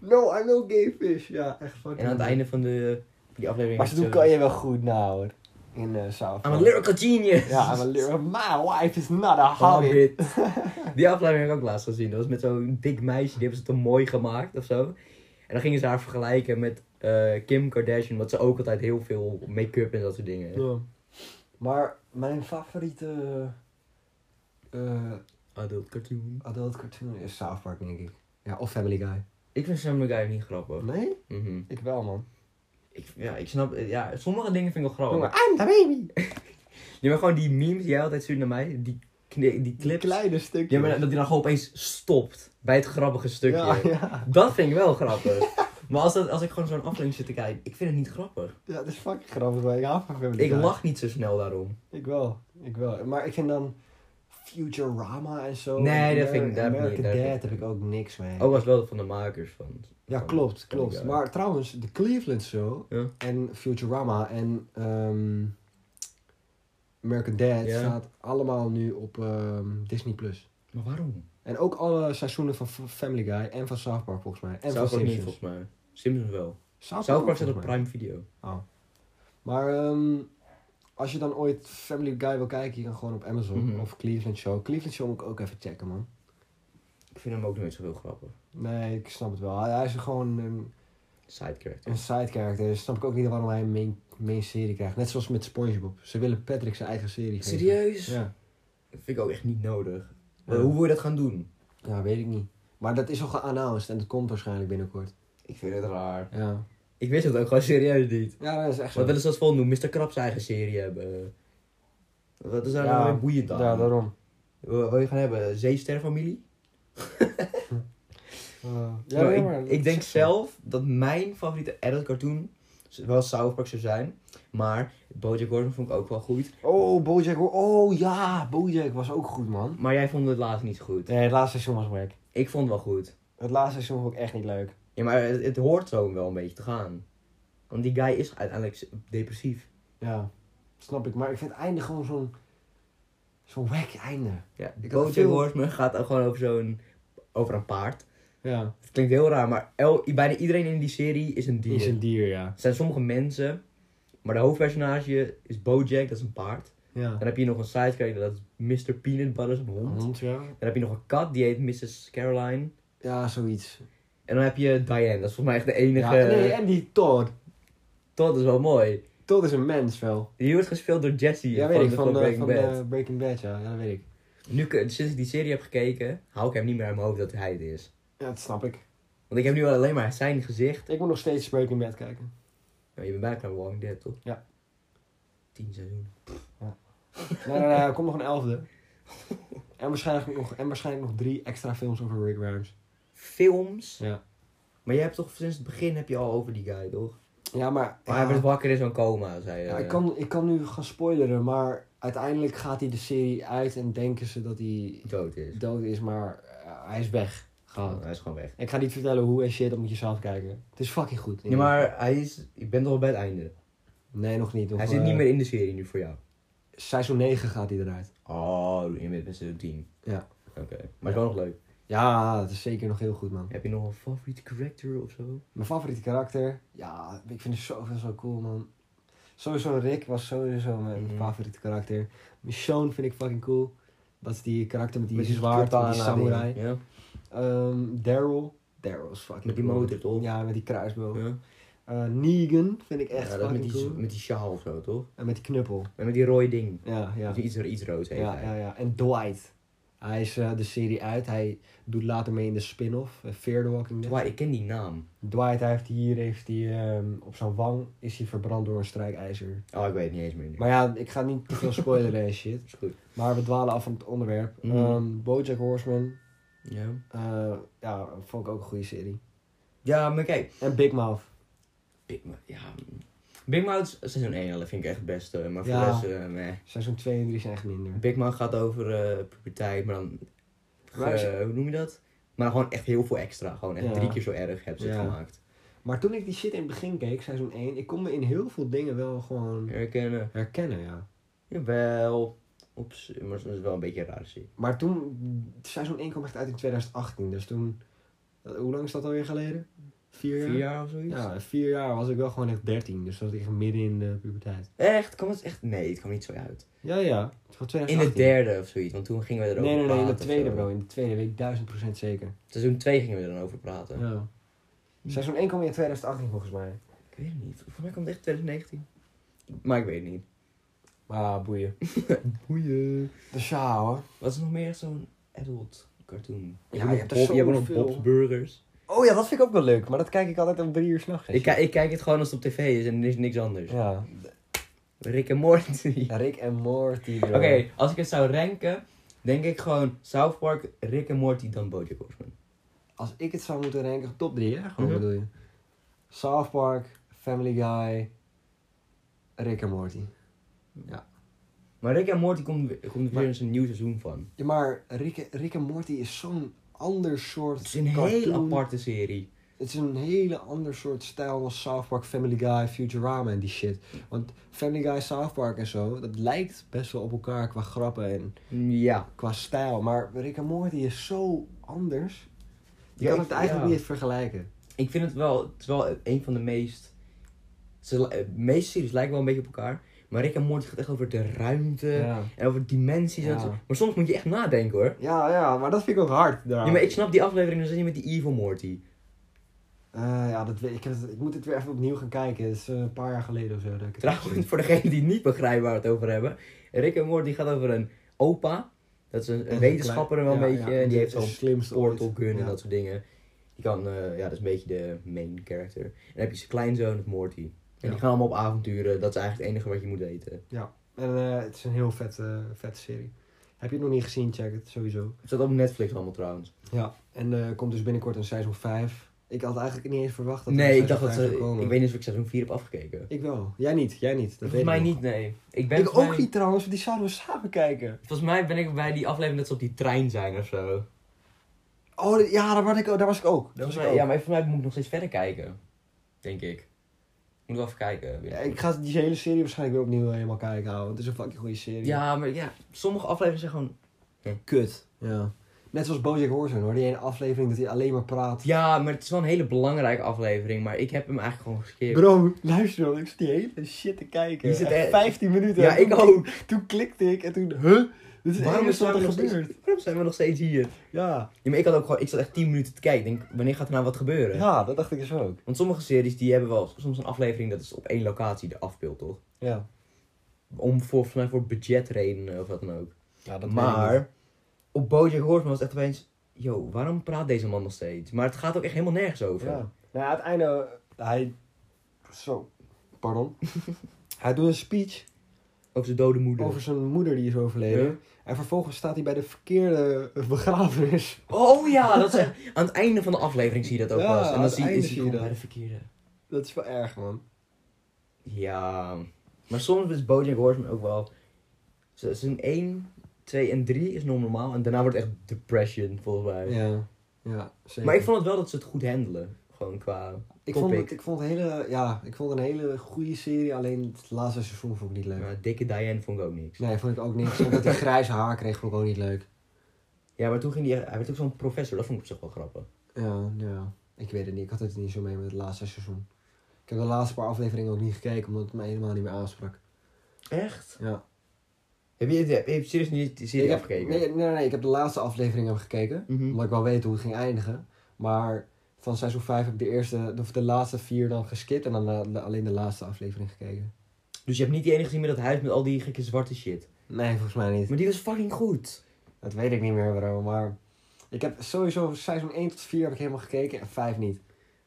[SPEAKER 1] no, I'm no gay fish. Ja, echt fucking.
[SPEAKER 2] En aan het einde van de, van die aflevering...
[SPEAKER 1] Maar ze doen
[SPEAKER 2] zegt
[SPEAKER 1] Kanye wel goed nou hoor. In eh South.
[SPEAKER 2] I'm a lyrical genius.
[SPEAKER 1] Ja, I'm a lyrical. My wife is not a hobbit.
[SPEAKER 2] Hobbit. Die aflevering heb ik ook laatst gezien. Dat was met zo'n dik meisje. Die hebben ze te mooi gemaakt of zo. En dan gingen ze haar vergelijken met eh, Kim Kardashian. Want ze ook altijd heel veel make-up en dat soort dingen. heeft.
[SPEAKER 1] Ja. Maar mijn favoriete eh
[SPEAKER 2] Adult cartoon.
[SPEAKER 1] adult cartoon is South Park, denk ik. Ja, of Family Guy.
[SPEAKER 2] Ik vind Family Guy niet grappig.
[SPEAKER 1] Nee?
[SPEAKER 2] Mhm.
[SPEAKER 1] Ik wel, man.
[SPEAKER 2] ik, ja, ik snap... Ja, sommige dingen vind ik wel grappig.
[SPEAKER 1] Jongen, I'm the baby!
[SPEAKER 2] Ja, maar gewoon die memes die jij altijd stuurt naar mij. Die, kne- die
[SPEAKER 1] Die
[SPEAKER 2] clips.
[SPEAKER 1] kleine stukjes.
[SPEAKER 2] ja, maar dat die dan gewoon opeens stopt. Bij het grappige stukje.
[SPEAKER 1] Ja, ja.
[SPEAKER 2] Dat vind ik wel grappig. maar als, dat, als ik gewoon zo'n aflevering zit te kijken. Ik vind het niet grappig.
[SPEAKER 1] Ja, dat is fucking grappig, maar ik hou van Family
[SPEAKER 2] Ik
[SPEAKER 1] Guy.
[SPEAKER 2] lach niet zo snel daarom.
[SPEAKER 1] Ik wel, ik wel. Maar ik vind dan Futurama en zo.
[SPEAKER 2] Nee,
[SPEAKER 1] en
[SPEAKER 2] dat vind ik-
[SPEAKER 1] Ameri-
[SPEAKER 2] daar heb ik
[SPEAKER 1] American
[SPEAKER 2] niet- Oh, daar heb
[SPEAKER 1] Dad heb
[SPEAKER 2] ik-
[SPEAKER 1] ik ook niks mee.
[SPEAKER 2] Ook was wel van de makers van.
[SPEAKER 1] ja,
[SPEAKER 2] van-
[SPEAKER 1] klopt,
[SPEAKER 2] van
[SPEAKER 1] klopt.
[SPEAKER 2] die guy.
[SPEAKER 1] Maar trouwens, de Cleveland Show
[SPEAKER 2] Ja.
[SPEAKER 1] en Futurama en ehm, American Dad
[SPEAKER 2] Ja.
[SPEAKER 1] staat allemaal nu op ehm, Disney+. Plus.
[SPEAKER 2] Maar waarom?
[SPEAKER 1] En ook alle seizoenen van F- Family Guy en van South Park volgens mij. En
[SPEAKER 2] South
[SPEAKER 1] van
[SPEAKER 2] Park niet
[SPEAKER 1] Simpsons.
[SPEAKER 2] volgens mij. Simpsons wel.
[SPEAKER 1] South
[SPEAKER 2] South Park
[SPEAKER 1] ook,
[SPEAKER 2] staat op
[SPEAKER 1] volgens mij.
[SPEAKER 2] Prime Video.
[SPEAKER 1] Oh. Maar ehm, als je dan ooit Family Guy wil kijken, je kan gewoon op Amazon
[SPEAKER 2] Mhm.
[SPEAKER 1] of Cleveland Show. Cleveland Show moet ik ook even checken, man.
[SPEAKER 2] Ik vind hem ook nooit zo heel grappig.
[SPEAKER 1] Nee, ik snap het wel. Hij, hij is gewoon een,
[SPEAKER 2] Side character.
[SPEAKER 1] een side character. Dus snap ik ook niet waarom hij een main, main serie krijgt. Net zoals met SpongeBob. Ze willen Patrick zijn eigen serie geven.
[SPEAKER 2] Serieus?
[SPEAKER 1] Ja.
[SPEAKER 2] Dat vind ik ook echt niet nodig.
[SPEAKER 1] Ja.
[SPEAKER 2] Eh, hoe wil je dat gaan doen?
[SPEAKER 1] ja, weet ik niet. Maar dat is al geannounced en dat komt waarschijnlijk binnenkort.
[SPEAKER 2] Ik vind het raar.
[SPEAKER 1] Ja,
[SPEAKER 2] Ik wist het ook gewoon serieus niet.
[SPEAKER 1] ja dat is echt zo.
[SPEAKER 2] Wat willen ze dat volgende doen? Mr. Krabs eigen serie hebben. Wat is daar
[SPEAKER 1] Ja,
[SPEAKER 2] nou weer boeiend aan?
[SPEAKER 1] Ja, daarom.
[SPEAKER 2] Wat wil je gaan hebben? Zeesterfamilie?
[SPEAKER 1] Eh,
[SPEAKER 2] Ja,
[SPEAKER 1] nee,
[SPEAKER 2] ik,
[SPEAKER 1] maar dat
[SPEAKER 2] ik
[SPEAKER 1] is
[SPEAKER 2] denk
[SPEAKER 1] echt zo.
[SPEAKER 2] zelf dat mijn favoriete adult cartoon wel South Park zou zijn. Maar Bojack Horseman vond ik ook wel goed.
[SPEAKER 1] Oh, Bojack. hoor. Oh ja, Bojack was ook goed, man.
[SPEAKER 2] Maar jij vond het laatst niet goed.
[SPEAKER 1] Nee, het laatste seizoen was wack.
[SPEAKER 2] Ik vond het wel goed.
[SPEAKER 1] Het laatste seizoen vond ik echt niet leuk.
[SPEAKER 2] Ja, maar het, het hoort zo wel een beetje te gaan. Want die guy is uiteindelijk s- depressief.
[SPEAKER 1] Ja, snap ik. Maar ik vind het einde gewoon zo'n... Zo'n wack einde.
[SPEAKER 2] Ja,
[SPEAKER 1] Ik had
[SPEAKER 2] Bojack
[SPEAKER 1] veel-
[SPEAKER 2] Horseman gaat ook gewoon over zo'n... Over een paard.
[SPEAKER 1] Ja.
[SPEAKER 2] Het klinkt heel raar, maar el- bijna iedereen in die serie is een
[SPEAKER 1] Die
[SPEAKER 2] dier.
[SPEAKER 1] is een dier, ja.
[SPEAKER 2] Er zijn sommige mensen, maar de hoofdpersonage is Bojack, dat is een paard.
[SPEAKER 1] Ja.
[SPEAKER 2] Dan heb je nog een sidecharacter, dat is Mr. Peanut Butter, dat is een hond.
[SPEAKER 1] Hond, ja.
[SPEAKER 2] Dan heb je nog een kat, die heet Mrs. Caroline.
[SPEAKER 1] Ja, zoiets.
[SPEAKER 2] En dan heb je Diane, dat is volgens mij echt de enige.
[SPEAKER 1] Ja, nee, en die Todd.
[SPEAKER 2] Dat is wel mooi.
[SPEAKER 1] Todd is een mens wel.
[SPEAKER 2] Die wordt gespeeld door Jesse
[SPEAKER 1] Ja,
[SPEAKER 2] van,
[SPEAKER 1] weet ik.
[SPEAKER 2] de-
[SPEAKER 1] Van,
[SPEAKER 2] van
[SPEAKER 1] de,
[SPEAKER 2] Breaking
[SPEAKER 1] van
[SPEAKER 2] Bad.
[SPEAKER 1] de Breaking Bad, ja. ja. Dat weet ik.
[SPEAKER 2] Nu, ik- sinds ik die serie heb gekeken, hou ik hem niet meer uit mijn hoofd dat hij het is.
[SPEAKER 1] Ja, dat snap ik.
[SPEAKER 2] Want ik heb nu alleen maar zijn gezicht.
[SPEAKER 1] Ik moet nog steeds Breaking Bad kijken.
[SPEAKER 2] Nou, je bent bijna klaar met Walking Dead, toch?
[SPEAKER 1] Ja.
[SPEAKER 2] Tien seizoenen.
[SPEAKER 1] Nee, nee, nee. Er komt nog een elfde. En waarschijnlijk nog, en waarschijnlijk nog drie extra films over Rick Grimes.
[SPEAKER 2] Films.
[SPEAKER 1] Ja.
[SPEAKER 2] Maar je hebt toch sinds het begin heb je al over die guy, toch?
[SPEAKER 1] Ja, maar...
[SPEAKER 2] Maar hij
[SPEAKER 1] ja.
[SPEAKER 2] werd wakker in zo'n coma, zei eh, je.
[SPEAKER 1] Ja, ik, kan, ik kan nu gaan spoileren, maar uiteindelijk gaat hij de serie uit en denken ze dat hij
[SPEAKER 2] Dood is.
[SPEAKER 1] dood is, maar eh, hij is weg.
[SPEAKER 2] Oh, hij is gewoon weg.
[SPEAKER 1] Ik ga niet vertellen hoe en shit, dat moet je zelf kijken. Het is fucking goed.
[SPEAKER 2] Ja, maar hij is... Ik ben toch al bij het einde.
[SPEAKER 1] Nee, nog niet. Nog,
[SPEAKER 2] hij zit
[SPEAKER 1] eh,
[SPEAKER 2] niet meer in de serie nu voor jou.
[SPEAKER 1] Seizoen 9 gaat hij eruit.
[SPEAKER 2] Oh, je bent met z'n tien.
[SPEAKER 1] Ja.
[SPEAKER 2] Oké. Maar het is wel nog leuk.
[SPEAKER 1] Ja, dat is zeker nog heel goed, man.
[SPEAKER 2] Heb je nog een favoriete character of zo?
[SPEAKER 1] Mijn favoriete karakter? Ja, ik vind er zoveel zo cool, man. Sowieso Rick was sowieso mijn
[SPEAKER 2] Mhm.
[SPEAKER 1] favoriete karakter. Michonne vind ik fucking cool. Dat is die karakter met die
[SPEAKER 2] Met
[SPEAKER 1] zwaard, met die
[SPEAKER 2] katana
[SPEAKER 1] samurai.
[SPEAKER 2] ding. Ja.
[SPEAKER 1] Ehm, Daryl. Daryl is fucking
[SPEAKER 2] Met die
[SPEAKER 1] cool.
[SPEAKER 2] motor, toch?
[SPEAKER 1] Ja, met die kruisboog.
[SPEAKER 2] Ja.
[SPEAKER 1] Eh, Negan vind ik echt
[SPEAKER 2] Ja, dat met
[SPEAKER 1] fucking
[SPEAKER 2] die,
[SPEAKER 1] cool.
[SPEAKER 2] met die sjaal of zo, toch?
[SPEAKER 1] En met die knuppel.
[SPEAKER 2] En met die rode ding.
[SPEAKER 1] Ja, ja.
[SPEAKER 2] Of Iets, iets rood heet
[SPEAKER 1] Ja,
[SPEAKER 2] hij.
[SPEAKER 1] ja, ja. En Dwight. Hij is eh, de serie uit. Hij doet later mee in de spin-off. eh, Fear the Walking Dead.
[SPEAKER 2] Dwight, ik ken die naam.
[SPEAKER 1] Dwight, hij heeft hier heeft hij, ehm, op zijn wang is hij verbrand door een strijkijzer.
[SPEAKER 2] Oh, ik weet het niet eens meer nu.
[SPEAKER 1] Maar ja, ik ga niet te veel spoileren en shit.
[SPEAKER 2] Is goed.
[SPEAKER 1] Maar we dwalen af van het onderwerp.
[SPEAKER 2] Mhm.
[SPEAKER 1] Ehm, Bojack Horseman.
[SPEAKER 2] Ja.
[SPEAKER 1] eh, ja, vond ik ook een goede serie.
[SPEAKER 2] Ja, maar kijk.
[SPEAKER 1] En Big Mouth.
[SPEAKER 2] Big Mouth, ja. Big Mouth seizoen 1 dat vind ik echt het beste. Maar voor
[SPEAKER 1] Ja.
[SPEAKER 2] de rest, eh, meh.
[SPEAKER 1] Seizoen 2 en 3 zijn echt minder.
[SPEAKER 2] Big Mouth gaat over eh puberteit, maar dan...
[SPEAKER 1] Maar als je-
[SPEAKER 2] eh, hoe noem je dat? Maar gewoon echt heel veel extra. Gewoon echt
[SPEAKER 1] Ja.
[SPEAKER 2] drie keer zo erg hebben ze het
[SPEAKER 1] Ja.
[SPEAKER 2] gemaakt.
[SPEAKER 1] Maar toen ik die shit in het begin keek, seizoen 1, ik kon me in heel veel dingen wel gewoon
[SPEAKER 2] Herkennen.
[SPEAKER 1] herkennen, ja.
[SPEAKER 2] Jawel. Ops, maar dat is wel een beetje raar zie.
[SPEAKER 1] Maar toen, seizoen 1 kwam echt uit in 2018, dus toen, eh, hoe lang is dat alweer geleden? Vier jaar?
[SPEAKER 2] Vier jaar of zoiets?
[SPEAKER 1] Ja, vier jaar was ik wel gewoon echt 13, dus dat was ik echt midden in de puberteit.
[SPEAKER 2] Echt? Kwam het echt? Nee, het kwam niet zo uit.
[SPEAKER 1] Ja, ja. Het was
[SPEAKER 2] In de
[SPEAKER 1] 2018.
[SPEAKER 2] derde of zoiets, want toen gingen we erover
[SPEAKER 1] Nee, nee,
[SPEAKER 2] praten.
[SPEAKER 1] nee, in de
[SPEAKER 2] of
[SPEAKER 1] tweede
[SPEAKER 2] zo.
[SPEAKER 1] bro, in de tweede weet ik duizend procent zeker.
[SPEAKER 2] Seizoen 2 gingen we er dan over praten.
[SPEAKER 1] Ja. Seizoen 1 kwam in 2018 volgens mij.
[SPEAKER 2] Ik weet het niet. Volgens mij kwam het echt 2019. Maar ik weet het niet.
[SPEAKER 1] Ah, boeien.
[SPEAKER 2] Boeien.
[SPEAKER 1] Dus ja hoor.
[SPEAKER 2] Wat is nog meer zo'n adult cartoon?
[SPEAKER 1] Ja,
[SPEAKER 2] hebt
[SPEAKER 1] je
[SPEAKER 2] nog
[SPEAKER 1] hebt er
[SPEAKER 2] Bob- je hebt nog
[SPEAKER 1] zoveel.
[SPEAKER 2] Bob's Burgers.
[SPEAKER 1] Oh ja, dat vind ik ook wel leuk, maar dat kijk ik altijd om drie uur s'nachts.
[SPEAKER 2] Ik, ki- ik kijk het gewoon als het op tv is en er is niks anders.
[SPEAKER 1] Ja.
[SPEAKER 2] Rick en Morty.
[SPEAKER 1] Rick en Morty bro.
[SPEAKER 2] Oké, als ik het zou ranken, denk ik gewoon South Park, Rick en Morty, dan Bojack Horseman.
[SPEAKER 1] Als ik het zou moeten ranken, top 3 hè? Gewoon
[SPEAKER 2] Mhm.
[SPEAKER 1] bedoel je. South Park, Family Guy, Rick en Morty.
[SPEAKER 2] Maar Rick en Morty komt, we- komt er weer
[SPEAKER 1] Maar-
[SPEAKER 2] eens een nieuw seizoen van.
[SPEAKER 1] Ja, maar Rick, Rick en Morty is zo'n ander soort
[SPEAKER 2] Het is een hele
[SPEAKER 1] cartoon.
[SPEAKER 2] aparte serie.
[SPEAKER 1] Het is een hele ander soort stijl dan South Park, Family Guy, Futurama en die shit. Want Family Guy, South Park en zo, dat lijkt best wel op elkaar qua grappen en
[SPEAKER 2] Mm, Ja.
[SPEAKER 1] qua stijl. Maar Rick en Morty is zo anders. Je
[SPEAKER 2] Ja,
[SPEAKER 1] kan
[SPEAKER 2] ik-
[SPEAKER 1] het eigenlijk
[SPEAKER 2] ja.
[SPEAKER 1] niet vergelijken.
[SPEAKER 2] Ik vind het wel, het is wel een van de meest... Ze, li- de meeste series lijken wel een beetje op elkaar. Maar Rick en Morty gaat echt over de ruimte
[SPEAKER 1] Ja.
[SPEAKER 2] en over dimensies. en
[SPEAKER 1] Ja.
[SPEAKER 2] zo. Maar soms moet je echt nadenken hoor.
[SPEAKER 1] ja, ja, maar dat vind ik ook hard. daar.
[SPEAKER 2] Ja, maar ik snap die aflevering dan zit je met die Evil Morty.
[SPEAKER 1] Eh, ja, dat weet ik. heb het- Ik moet het weer even opnieuw gaan kijken. Het is eh, een paar jaar geleden of zo. Dat ik het heb gezien.
[SPEAKER 2] Trouwens, voor degenen die niet begrijpen waar we het over hebben. Rick en Morty gaat over een opa. Dat is een, een wetenschapper wel een
[SPEAKER 1] Ja,
[SPEAKER 2] beetje.
[SPEAKER 1] ja,
[SPEAKER 2] en die heeft
[SPEAKER 1] het
[SPEAKER 2] zo'n
[SPEAKER 1] slimste ooit.
[SPEAKER 2] portal gun en
[SPEAKER 1] Ja.
[SPEAKER 2] dat soort dingen. Die kan, eh, ja, dat is een beetje de main character. En dan heb je zijn kleinzoon, het Morty. En
[SPEAKER 1] Ja.
[SPEAKER 2] die gaan allemaal op avonturen. Dat is eigenlijk het enige wat je moet weten.
[SPEAKER 1] En eh, het is een heel vette, eh, vette serie. Heb je het nog niet gezien, check het sowieso.
[SPEAKER 2] Het staat op Netflix allemaal trouwens.
[SPEAKER 1] Ja, en eh, er komt dus binnenkort een seizoen 5. Ik had eigenlijk niet eens verwacht dat er
[SPEAKER 2] nee,
[SPEAKER 1] een
[SPEAKER 2] ik dacht dat
[SPEAKER 1] seizoen
[SPEAKER 2] ze...
[SPEAKER 1] vijf zou
[SPEAKER 2] Ik
[SPEAKER 1] komen.
[SPEAKER 2] weet niet of ik seizoen 4 heb afgekeken.
[SPEAKER 1] Ik wel. Jij niet, jij niet. Dat weet
[SPEAKER 2] volgens mij
[SPEAKER 1] ik nog.
[SPEAKER 2] niet, nee. Ik ben
[SPEAKER 1] Ik
[SPEAKER 2] volgens
[SPEAKER 1] ook
[SPEAKER 2] mij-
[SPEAKER 1] niet trouwens, want die zouden we samen kijken.
[SPEAKER 2] Volgens mij ben ik bij die aflevering dat ze op die trein zijn of zo.
[SPEAKER 1] Oh, dit- ja, daar was ik, daar was ik ook. Daar was
[SPEAKER 2] Volgens
[SPEAKER 1] ik
[SPEAKER 2] mij-
[SPEAKER 1] ook.
[SPEAKER 2] ja, maar volgens mij moet ik nog steeds verder kijken. Denk ik. Moet wel even kijken.
[SPEAKER 1] Ja, ik ga die hele serie waarschijnlijk weer opnieuw helemaal kijken, ouwe. Het is een fucking goede serie.
[SPEAKER 2] Ja, maar ja, sommige afleveringen zijn gewoon...
[SPEAKER 1] Kut. Ja. Net zoals Bojack Horseman hoor, die ene aflevering dat hij alleen maar praat.
[SPEAKER 2] Ja, maar het is wel een hele belangrijke aflevering, maar ik heb hem eigenlijk gewoon geskipt.
[SPEAKER 1] Bro, luister dan, ik zit die hele shit te kijken.
[SPEAKER 2] Je zit
[SPEAKER 1] Echt
[SPEAKER 2] echt-
[SPEAKER 1] 15 minuten.
[SPEAKER 2] ja,
[SPEAKER 1] En
[SPEAKER 2] ik
[SPEAKER 1] toen-
[SPEAKER 2] ook.
[SPEAKER 1] Toen klikte ik en toen, huh? Dit is
[SPEAKER 2] Waarom
[SPEAKER 1] waarom
[SPEAKER 2] is
[SPEAKER 1] wat er
[SPEAKER 2] er nog steeds-
[SPEAKER 1] gebeurd.
[SPEAKER 2] Waarom zijn we nog steeds hier?
[SPEAKER 1] Ja.
[SPEAKER 2] Ja, maar ik had ook gewoon... Ik zat echt 10 minuten te kijken. Ik denk, wanneer gaat er nou wat gebeuren?
[SPEAKER 1] ja, dat dacht ik dus ook.
[SPEAKER 2] Want sommige series die hebben wel soms een aflevering dat is op één locatie de afbeeld, toch?
[SPEAKER 1] Ja.
[SPEAKER 2] Om voor, volgens mij voor budgetredenen of wat dan ook.
[SPEAKER 1] ja
[SPEAKER 2] maar op Bojack Horseman was het echt opeens... Yo, waarom praat deze man nog steeds? Maar het gaat ook echt helemaal nergens over.
[SPEAKER 1] Ja. Nou, ja, aan het einde, hij... Zo. Pardon. hij doet een speech
[SPEAKER 2] Over zijn dode moeder.
[SPEAKER 1] over zijn moeder die is overleden.
[SPEAKER 2] Ja.
[SPEAKER 1] En vervolgens staat hij bij de verkeerde begrafenis.
[SPEAKER 2] Oh ja, dat is echt- aan het einde van de aflevering zie je dat ook
[SPEAKER 1] Ja,
[SPEAKER 2] pas. En
[SPEAKER 1] aan
[SPEAKER 2] dan
[SPEAKER 1] het
[SPEAKER 2] zie,
[SPEAKER 1] einde
[SPEAKER 2] is hij
[SPEAKER 1] zie je
[SPEAKER 2] gewoon bij de
[SPEAKER 1] dat.
[SPEAKER 2] verkeerde.
[SPEAKER 1] Dat is wel erg, man.
[SPEAKER 2] Ja, maar soms is Bojack Horseman ook wel... Ze- Seizoen 1, 2 en 3 is nog normaal. En daarna wordt het echt depression, volgens mij.
[SPEAKER 1] Ja. Ja, zeker.
[SPEAKER 2] maar ik vond het wel dat ze het goed handelen. Gewoon qua...
[SPEAKER 1] Ik vond,
[SPEAKER 2] topic.
[SPEAKER 1] het, ik vond het hele, ja, ik vond het een hele goede serie, alleen het laatste seizoen vond ik niet leuk.
[SPEAKER 2] Maar dikke Diane vond ik ook niks.
[SPEAKER 1] Nee, vond ik ook niks. Omdat hij grijze haar kreeg, vond ik ook niet leuk.
[SPEAKER 2] Ja, maar toen ging hij... Hij werd ook zo'n professor. Dat vond ik op zich wel grappig.
[SPEAKER 1] Ja, ja. Ik weet het niet. Ik had het niet zo mee met het laatste seizoen. Ik heb de laatste paar afleveringen ook niet gekeken, omdat het me helemaal niet meer aansprak.
[SPEAKER 2] Echt?
[SPEAKER 1] Ja.
[SPEAKER 2] Heb je, heb je serieus niet die
[SPEAKER 1] ik
[SPEAKER 2] serie
[SPEAKER 1] heb,
[SPEAKER 2] afgekeken?
[SPEAKER 1] Nee, nee, nee, ik heb de laatste aflevering heb gekeken.
[SPEAKER 2] Mhm.
[SPEAKER 1] Omdat ik wel weet hoe het ging eindigen. Maar van seizoen 5 heb ik de, eerste, of de laatste vier dan geskipt en dan eh, de- alleen de laatste aflevering gekeken.
[SPEAKER 2] Dus je hebt niet die ene gezien met dat huis met al die gekke zwarte shit.
[SPEAKER 1] Nee, volgens mij niet.
[SPEAKER 2] Maar die was fucking goed.
[SPEAKER 1] Dat weet ik niet meer, bro. Maar ik heb sowieso seizoen 1 tot 4 heb ik helemaal gekeken en 5 niet.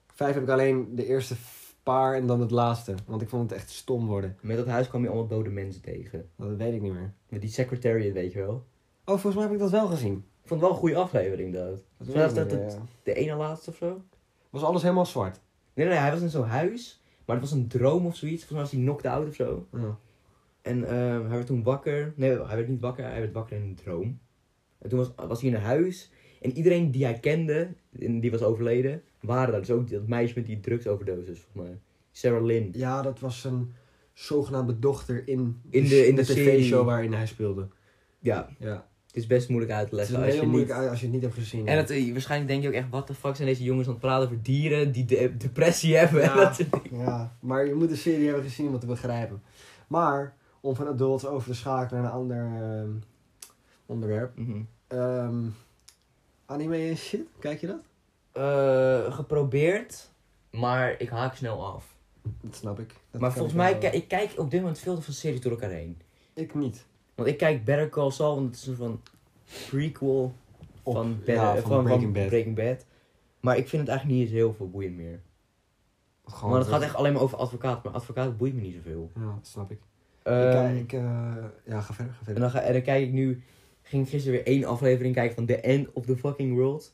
[SPEAKER 1] 5 heb ik alleen de eerste f- paar en dan het laatste. Want ik vond het echt stom worden.
[SPEAKER 2] Met dat huis kwam je allemaal dode mensen tegen.
[SPEAKER 1] Dat weet ik niet meer.
[SPEAKER 2] Met die secretariat, weet je wel.
[SPEAKER 1] Oh, volgens mij heb ik dat wel gezien.
[SPEAKER 2] Ik vond het wel een goede aflevering, dat.
[SPEAKER 1] Dat
[SPEAKER 2] Volgens mij was
[SPEAKER 1] weet ik
[SPEAKER 2] dat
[SPEAKER 1] niet
[SPEAKER 2] het
[SPEAKER 1] meer, ja.
[SPEAKER 2] de ene laatste of zo?
[SPEAKER 1] Was alles helemaal zwart?
[SPEAKER 2] Nee, nee, hij was in zo'n huis. Maar het was een droom of zoiets. Volgens mij was hij knocked out of zo.
[SPEAKER 1] Ja.
[SPEAKER 2] En ehm, hij werd toen wakker. Nee, hij werd niet wakker. Hij werd wakker in een droom. En toen was, was hij in een huis. En iedereen die hij kende, en die was overleden, waren daar. Dus ook dat meisje met die drugsoverdosis, volgens mij. Sarah Lynn.
[SPEAKER 1] Ja, dat was een zogenaamde dochter in,
[SPEAKER 2] In de- in de serie.
[SPEAKER 1] tv-show waarin hij speelde.
[SPEAKER 2] Ja,
[SPEAKER 1] Ja.
[SPEAKER 2] het is best moeilijk uit te
[SPEAKER 1] Het is
[SPEAKER 2] leggen. als
[SPEAKER 1] heel
[SPEAKER 2] je
[SPEAKER 1] moeilijk
[SPEAKER 2] niet...
[SPEAKER 1] uit als je het niet hebt gezien.
[SPEAKER 2] En het, eh, waarschijnlijk denk je ook echt, wat de fuck zijn deze jongens aan het praten over dieren die de- depressie hebben.
[SPEAKER 1] Ja.
[SPEAKER 2] Dat soort dingen.
[SPEAKER 1] Ja, maar je moet de serie hebben gezien om het te begrijpen. Maar om van adult over te schakelen naar een ander ehm, onderwerp.
[SPEAKER 2] Mhm.
[SPEAKER 1] Ehm, anime en shit, kijk je dat?
[SPEAKER 2] Eh, geprobeerd, maar ik haak snel af.
[SPEAKER 1] Dat snap ik. Dat
[SPEAKER 2] maar
[SPEAKER 1] kan
[SPEAKER 2] volgens
[SPEAKER 1] ik
[SPEAKER 2] mij,
[SPEAKER 1] wel.
[SPEAKER 2] kijk ik kijk op dit moment veel te veel series door elkaar heen.
[SPEAKER 1] Ik niet.
[SPEAKER 2] Want ik kijk Better Call Saul, want het is een soort van prequel
[SPEAKER 1] Op-
[SPEAKER 2] van, Be-
[SPEAKER 1] ja,
[SPEAKER 2] eh,
[SPEAKER 1] van Breaking Bad.
[SPEAKER 2] Maar ik vind het eigenlijk niet eens heel veel boeiend meer.
[SPEAKER 1] Gewoon
[SPEAKER 2] Want het
[SPEAKER 1] dat-
[SPEAKER 2] gaat echt alleen maar over advocaat, maar advocaat boeit me niet zoveel.
[SPEAKER 1] Ja, dat snap ik.
[SPEAKER 2] Ehm,
[SPEAKER 1] ik kijk- ik, eh, ja, ga verder, ga
[SPEAKER 2] en,
[SPEAKER 1] verder.
[SPEAKER 2] dan ga, en dan kijk ik nu, ging gisteren weer één aflevering kijken van The End of the Fucking World.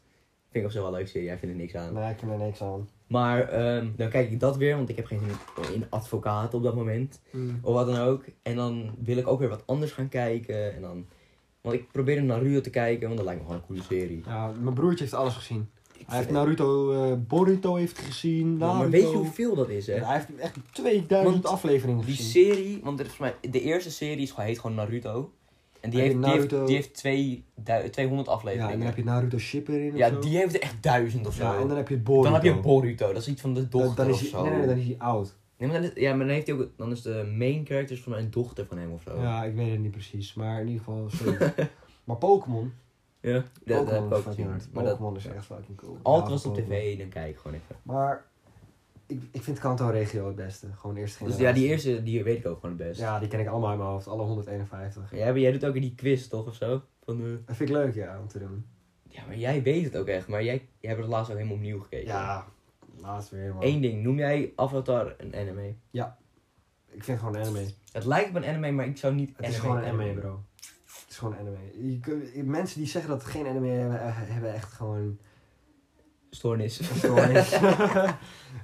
[SPEAKER 2] Vind ik op zich wel een leuke serie, jij vindt er niks aan.
[SPEAKER 1] Nee, ik vind er niks aan.
[SPEAKER 2] Maar ehm, dan kijk ik dat weer, want ik heb geen zin in advocaat op dat moment. Of wat dan ook. En dan wil ik ook weer wat anders gaan kijken. En dan... Want ik probeerde Naruto te kijken, want dat lijkt me gewoon een coole serie.
[SPEAKER 1] Ja, mijn broertje heeft alles gezien. Hij heeft Naruto, eh, Boruto heeft gezien,
[SPEAKER 2] Ja,
[SPEAKER 1] Naruto.
[SPEAKER 2] maar weet je hoeveel dat is, hè?
[SPEAKER 1] Ja, Hij heeft echt 2000
[SPEAKER 2] Want
[SPEAKER 1] afleveringen
[SPEAKER 2] Die
[SPEAKER 1] gezien.
[SPEAKER 2] serie, want er is volgens mij, de eerste serie is, gewoon- heet gewoon Naruto. En die
[SPEAKER 1] En
[SPEAKER 2] heeft,
[SPEAKER 1] die
[SPEAKER 2] die heeft,
[SPEAKER 1] Naruto-
[SPEAKER 2] die heeft twee, du- 200
[SPEAKER 1] Ja, en dan
[SPEAKER 2] afleveringen.
[SPEAKER 1] heb je Naruto Shipper in of
[SPEAKER 2] Ja,
[SPEAKER 1] zo.
[SPEAKER 2] die heeft er echt duizend of zo.
[SPEAKER 1] Ja, en dan
[SPEAKER 2] dan,
[SPEAKER 1] heb je Boruto.
[SPEAKER 2] heb je Boruto, dat is iets van de dochter
[SPEAKER 1] Dan- dan is
[SPEAKER 2] of
[SPEAKER 1] hij,
[SPEAKER 2] zo.
[SPEAKER 1] Nee, nee, dan is hij oud.
[SPEAKER 2] Nee, maar dan is, ja, maar dan, heeft hij ook, dan is de main character van een dochter van hem of zo.
[SPEAKER 1] Ja, ik weet het niet precies, maar in ieder geval... sorry. maar Pokémon,
[SPEAKER 2] Ja, dat- dat, heb
[SPEAKER 1] Pokémon is
[SPEAKER 2] ik ook
[SPEAKER 1] fucking
[SPEAKER 2] gezien.
[SPEAKER 1] hard.
[SPEAKER 2] Maar dat-
[SPEAKER 1] Pokémon is echt fucking cool.
[SPEAKER 2] Altijd
[SPEAKER 1] Ja,
[SPEAKER 2] was het op
[SPEAKER 1] Pokémon.
[SPEAKER 2] tv, dan kijk ik gewoon even.
[SPEAKER 1] Maar ik, ik vind Kanto-regio het beste. Gewoon eerst
[SPEAKER 2] Dus
[SPEAKER 1] generatie.
[SPEAKER 2] ja, die eerste die weet ik ook gewoon het best.
[SPEAKER 1] Ja, die ken ik allemaal uit mijn hoofd. Alle 151.
[SPEAKER 2] Ja, maar jij doet ook in die quiz toch of zo? Van, eh,
[SPEAKER 1] Dat vind ik leuk, ja, om te doen.
[SPEAKER 2] Ja, maar jij weet het ook echt, maar jij, jij hebt het laatst ook helemaal opnieuw gekeken.
[SPEAKER 1] Ja, laatst weer, man.
[SPEAKER 2] Eén ding, noem jij Avatar een anime?
[SPEAKER 1] Ik vind gewoon anime. Het
[SPEAKER 2] Het lijkt op een anime, maar ik zou niet
[SPEAKER 1] is gewoon een anime, bro. Het is gewoon een anime. Je kun- je- mensen die zeggen dat het geen anime hebben, eh, hebben echt gewoon...
[SPEAKER 2] Stoornis.
[SPEAKER 1] een stoornis.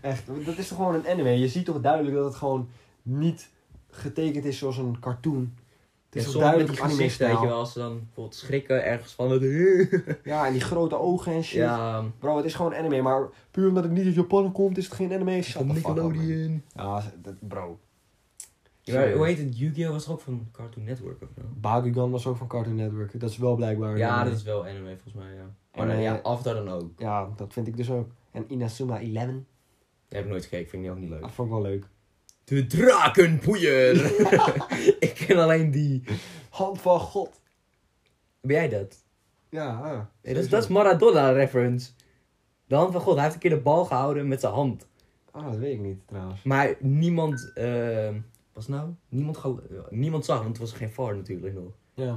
[SPEAKER 1] echt, want dat is toch gewoon een anime. Je ziet toch duidelijk dat het gewoon niet getekend is zoals een cartoon. Het is
[SPEAKER 2] Ja,
[SPEAKER 1] toch
[SPEAKER 2] soms met
[SPEAKER 1] duidelijk
[SPEAKER 2] die
[SPEAKER 1] een anime
[SPEAKER 2] gezichten, weet je
[SPEAKER 1] stijl.
[SPEAKER 2] wel, als ze dan bijvoorbeeld schrikken ergens van het...
[SPEAKER 1] Ja, en die grote ogen en shit.
[SPEAKER 2] Ja,
[SPEAKER 1] Bro, het is gewoon anime, maar puur omdat het niet uit Japan komt, is het geen anime. Shut
[SPEAKER 2] van
[SPEAKER 1] the fuck up, man.
[SPEAKER 2] Nickelodeon.
[SPEAKER 1] Ja, dat, bro.
[SPEAKER 2] Ja, maar hoe heet het? Yu-Gi-Oh! was toch ook van Cartoon Network of zo?
[SPEAKER 1] Bakugan was ook van Cartoon Network. Dat is wel blijkbaar.
[SPEAKER 2] Ja,
[SPEAKER 1] een-
[SPEAKER 2] dat is wel anime volgens mij, ja. Maar
[SPEAKER 1] Anime.
[SPEAKER 2] ja, Avatar dan ook.
[SPEAKER 1] ja, dat vind ik dus ook. En Inazuma 11.
[SPEAKER 2] Dat heb ik nooit gekeken, vind ik die ook niet leuk.
[SPEAKER 1] Dat vond ik wel leuk.
[SPEAKER 2] De drakenpoeier! ik ken alleen die.
[SPEAKER 1] Hand van God.
[SPEAKER 2] Ben jij dat?
[SPEAKER 1] Ja, ah,
[SPEAKER 2] Nee, dat, is,
[SPEAKER 1] sowieso.
[SPEAKER 2] Dus dat is Maradona reference. De hand van God. Hij heeft een keer de bal gehouden met zijn hand.
[SPEAKER 1] Ah, dat weet ik niet trouwens.
[SPEAKER 2] Maar niemand. ehm was nou? Niemand, gelo- eh, niemand zag, want het was geen VAR natuurlijk nog.
[SPEAKER 1] Ja.
[SPEAKER 2] Hij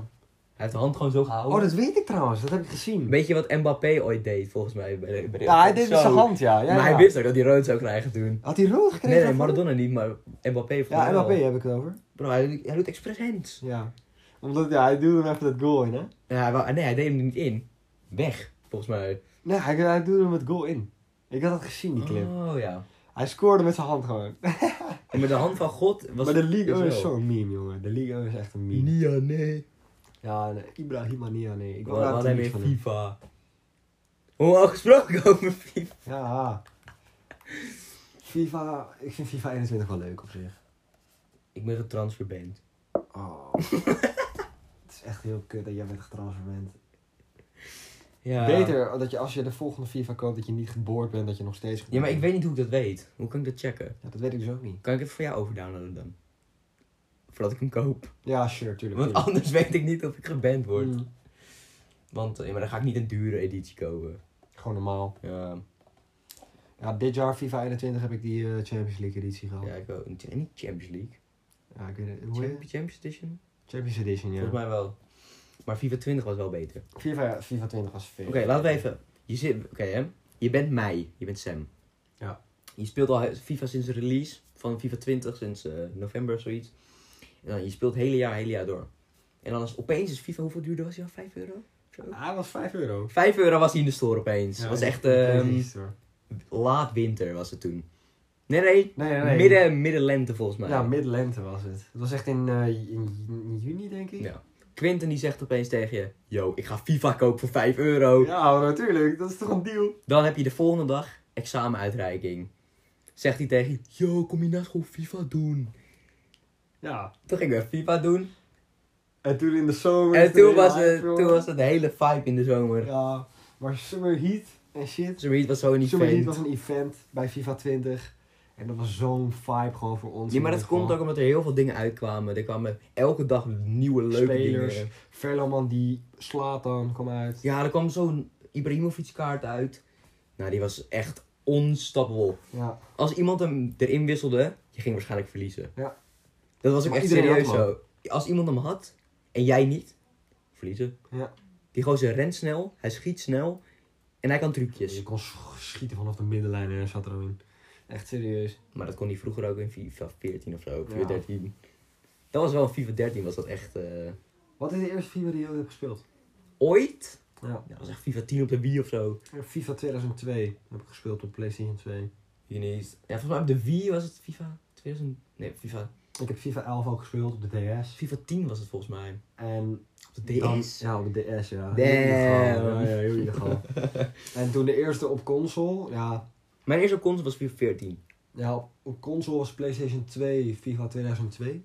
[SPEAKER 2] heeft de hand gewoon zo gehouden.
[SPEAKER 1] Oh, dat weet ik trouwens. Dat heb ik gezien.
[SPEAKER 2] Weet je wat Mbappé ooit deed volgens mij? Bij de, bij de-
[SPEAKER 1] Ja, hij deed
[SPEAKER 2] zo.
[SPEAKER 1] met zijn hand, ja. ja
[SPEAKER 2] maar hij
[SPEAKER 1] ja.
[SPEAKER 2] wist ook dat hij rood zou krijgen toen.
[SPEAKER 1] Had hij rood gekregen?
[SPEAKER 2] Nee, nee,
[SPEAKER 1] daarvoor?
[SPEAKER 2] Maradona niet, maar Mbappé volgens
[SPEAKER 1] Ja,
[SPEAKER 2] mij wel.
[SPEAKER 1] MAP heb ik het over.
[SPEAKER 2] Bro, hij, hij doet expres hands.
[SPEAKER 1] Ja. Omdat, ja, hij duwde hem even dat goal in, hè?
[SPEAKER 2] Ja, hij wou- nee, hij deed hem er niet in. Weg, volgens mij.
[SPEAKER 1] Nee, hij, hij duwde hem het goal in. Ik had dat gezien, die clip.
[SPEAKER 2] Oh ja.
[SPEAKER 1] Hij scoorde met zijn hand gewoon.
[SPEAKER 2] En met de hand van God was
[SPEAKER 1] maar de League
[SPEAKER 2] is
[SPEAKER 1] O is
[SPEAKER 2] wel-
[SPEAKER 1] zo'n meme, jongen. De League O is echt een meme.
[SPEAKER 2] Nia, nee.
[SPEAKER 1] Ja, nee, Ibrahima Nia, nee. Ik
[SPEAKER 2] Ik
[SPEAKER 1] wou daar
[SPEAKER 2] had hem
[SPEAKER 1] natuurlijk
[SPEAKER 2] in
[SPEAKER 1] van hem.
[SPEAKER 2] FIFA. Hoe al gesproken over FIFA.
[SPEAKER 1] Ja. FIFA, ik vind FIFA 21 wel leuk op zich.
[SPEAKER 2] Ik ben getransferband.
[SPEAKER 1] Oh. Het is echt heel kut dat jij bent getransferd bent.
[SPEAKER 2] Ja.
[SPEAKER 1] Beter dat je als je de volgende FIFA koopt, dat je niet geboord bent, dat je nog steeds
[SPEAKER 2] Ja, maar ik
[SPEAKER 1] geboord
[SPEAKER 2] weet niet hoe ik dat weet. Hoe kan ik dat checken?
[SPEAKER 1] bent. Ja, dat weet ik dus ook niet.
[SPEAKER 2] Kan ik het voor jou overdownloaden dan? Voordat ik hem koop.
[SPEAKER 1] Ja, sure, tuurlijk.
[SPEAKER 2] Want
[SPEAKER 1] tuurlijk.
[SPEAKER 2] anders weet ik niet of ik geband word.
[SPEAKER 1] Mm.
[SPEAKER 2] Want eh, maar dan ga ik niet een dure editie kopen.
[SPEAKER 1] Gewoon normaal.
[SPEAKER 2] Ja,
[SPEAKER 1] Ja, dit jaar FIFA 21 heb ik die eh, Champions League editie gehad.
[SPEAKER 2] ja
[SPEAKER 1] Ja,
[SPEAKER 2] ik wil niet Champions League.
[SPEAKER 1] ik weet het. Hoe heet het?
[SPEAKER 2] Champions, Champions Edition?
[SPEAKER 1] Champions Edition, ja.
[SPEAKER 2] Volgens mij wel. Maar FIFA 20 was wel beter.
[SPEAKER 1] FIFA, FIFA 20 was veel.
[SPEAKER 2] Oké, laten we even. Je, zit, oké, hè? je bent mij, je bent Sam.
[SPEAKER 1] Ja.
[SPEAKER 2] Je speelt al FIFA sinds de release van FIFA 20, sinds eh, november of zoiets. En dan, je speelt het hele jaar, hele jaar door. En dan is opeens is FIFA, hoeveel duurder was hij al? 5 euro?
[SPEAKER 1] Hij was 5 euro.
[SPEAKER 2] 5 euro was hij in de store opeens.
[SPEAKER 1] Ja,
[SPEAKER 2] Dat was
[SPEAKER 1] in-
[SPEAKER 2] echt
[SPEAKER 1] in de
[SPEAKER 2] ehm,
[SPEAKER 1] PlayStation Store.
[SPEAKER 2] laat winter was het toen. Nee, nee,
[SPEAKER 1] Nee, nee, nee.
[SPEAKER 2] Midden, middenlente volgens mij.
[SPEAKER 1] Ja, midlente was het. Het was echt in, eh, in, in juni, denk ik.
[SPEAKER 2] Ja. Quinten die zegt opeens tegen je... Yo, ik ga FIFA kopen voor 5 euro.
[SPEAKER 1] Ja, natuurlijk. Dat is toch een deal?
[SPEAKER 2] Dan heb je de volgende dag examenuitreiking. Zegt hij tegen je... Yo, kom je na school FIFA doen?
[SPEAKER 1] Ja.
[SPEAKER 2] Toen ging ik weer FIFA doen.
[SPEAKER 1] En toen in de zomer...
[SPEAKER 2] En toen was,
[SPEAKER 1] hele
[SPEAKER 2] het,
[SPEAKER 1] hype,
[SPEAKER 2] toen
[SPEAKER 1] joh.
[SPEAKER 2] was het een hele vibe in de zomer.
[SPEAKER 1] Ja, maar Summer Heat en shit.
[SPEAKER 2] Zoiets was zo niet
[SPEAKER 1] Summer Heat
[SPEAKER 2] event.
[SPEAKER 1] was een event bij FIFA 20. En dat was zo'n vibe gewoon voor ons.
[SPEAKER 2] Ja, maar
[SPEAKER 1] In
[SPEAKER 2] dat
[SPEAKER 1] ieder
[SPEAKER 2] komt ook
[SPEAKER 1] geval.
[SPEAKER 2] omdat er heel veel dingen uitkwamen. Er kwamen elke dag nieuwe leuke
[SPEAKER 1] Spelers.
[SPEAKER 2] dingen.
[SPEAKER 1] Verloman die slaat dan, kwam uit.
[SPEAKER 2] Ja, er kwam zo'n Ibrahimovic kaart uit. Nou, die was echt onstoppable.
[SPEAKER 1] Ja.
[SPEAKER 2] Als iemand hem erin wisselde, je ging waarschijnlijk verliezen.
[SPEAKER 1] Ja.
[SPEAKER 2] Dat was ook
[SPEAKER 1] Maar
[SPEAKER 2] echt
[SPEAKER 1] iedereen
[SPEAKER 2] serieus
[SPEAKER 1] had hem
[SPEAKER 2] zo. Als iemand hem had en jij niet, verliezen.
[SPEAKER 1] Ja.
[SPEAKER 2] Die gozer rent snel, hij schiet snel en hij kan trucjes.
[SPEAKER 1] Je kon sch- schieten vanaf de middenlijn en er zat er ook in. Echt serieus.
[SPEAKER 2] Maar dat kon hij vroeger ook in FIFA 14 of zo, FIFA
[SPEAKER 1] Ja.
[SPEAKER 2] 13. Dat was wel in FIFA 13, was dat echt... eh,
[SPEAKER 1] Wat is de eerste FIFA die je hebt gespeeld?
[SPEAKER 2] Ooit?
[SPEAKER 1] Ja.
[SPEAKER 2] Ja, dat was echt FIFA 10 op de Wii of zo.
[SPEAKER 1] FIFA 2002 heb ik gespeeld op PlayStation 2.
[SPEAKER 2] Hier niet. Ja, volgens mij op de Wii was het FIFA 2000... Nee, FIFA,
[SPEAKER 1] Ik heb FIFA 11 ook gespeeld op de DS.
[SPEAKER 2] FIFA 10 was het volgens mij.
[SPEAKER 1] En
[SPEAKER 2] Op de DS.
[SPEAKER 1] Dan, ja, op de DS, ja.
[SPEAKER 2] Damn.
[SPEAKER 1] Illegaal. Ja, ja, heel illegaal. en toen de eerste op console, ja.
[SPEAKER 2] Mijn eerste console was FIFA 14.
[SPEAKER 1] Ja, op- op console was PlayStation 2, FIFA 2002.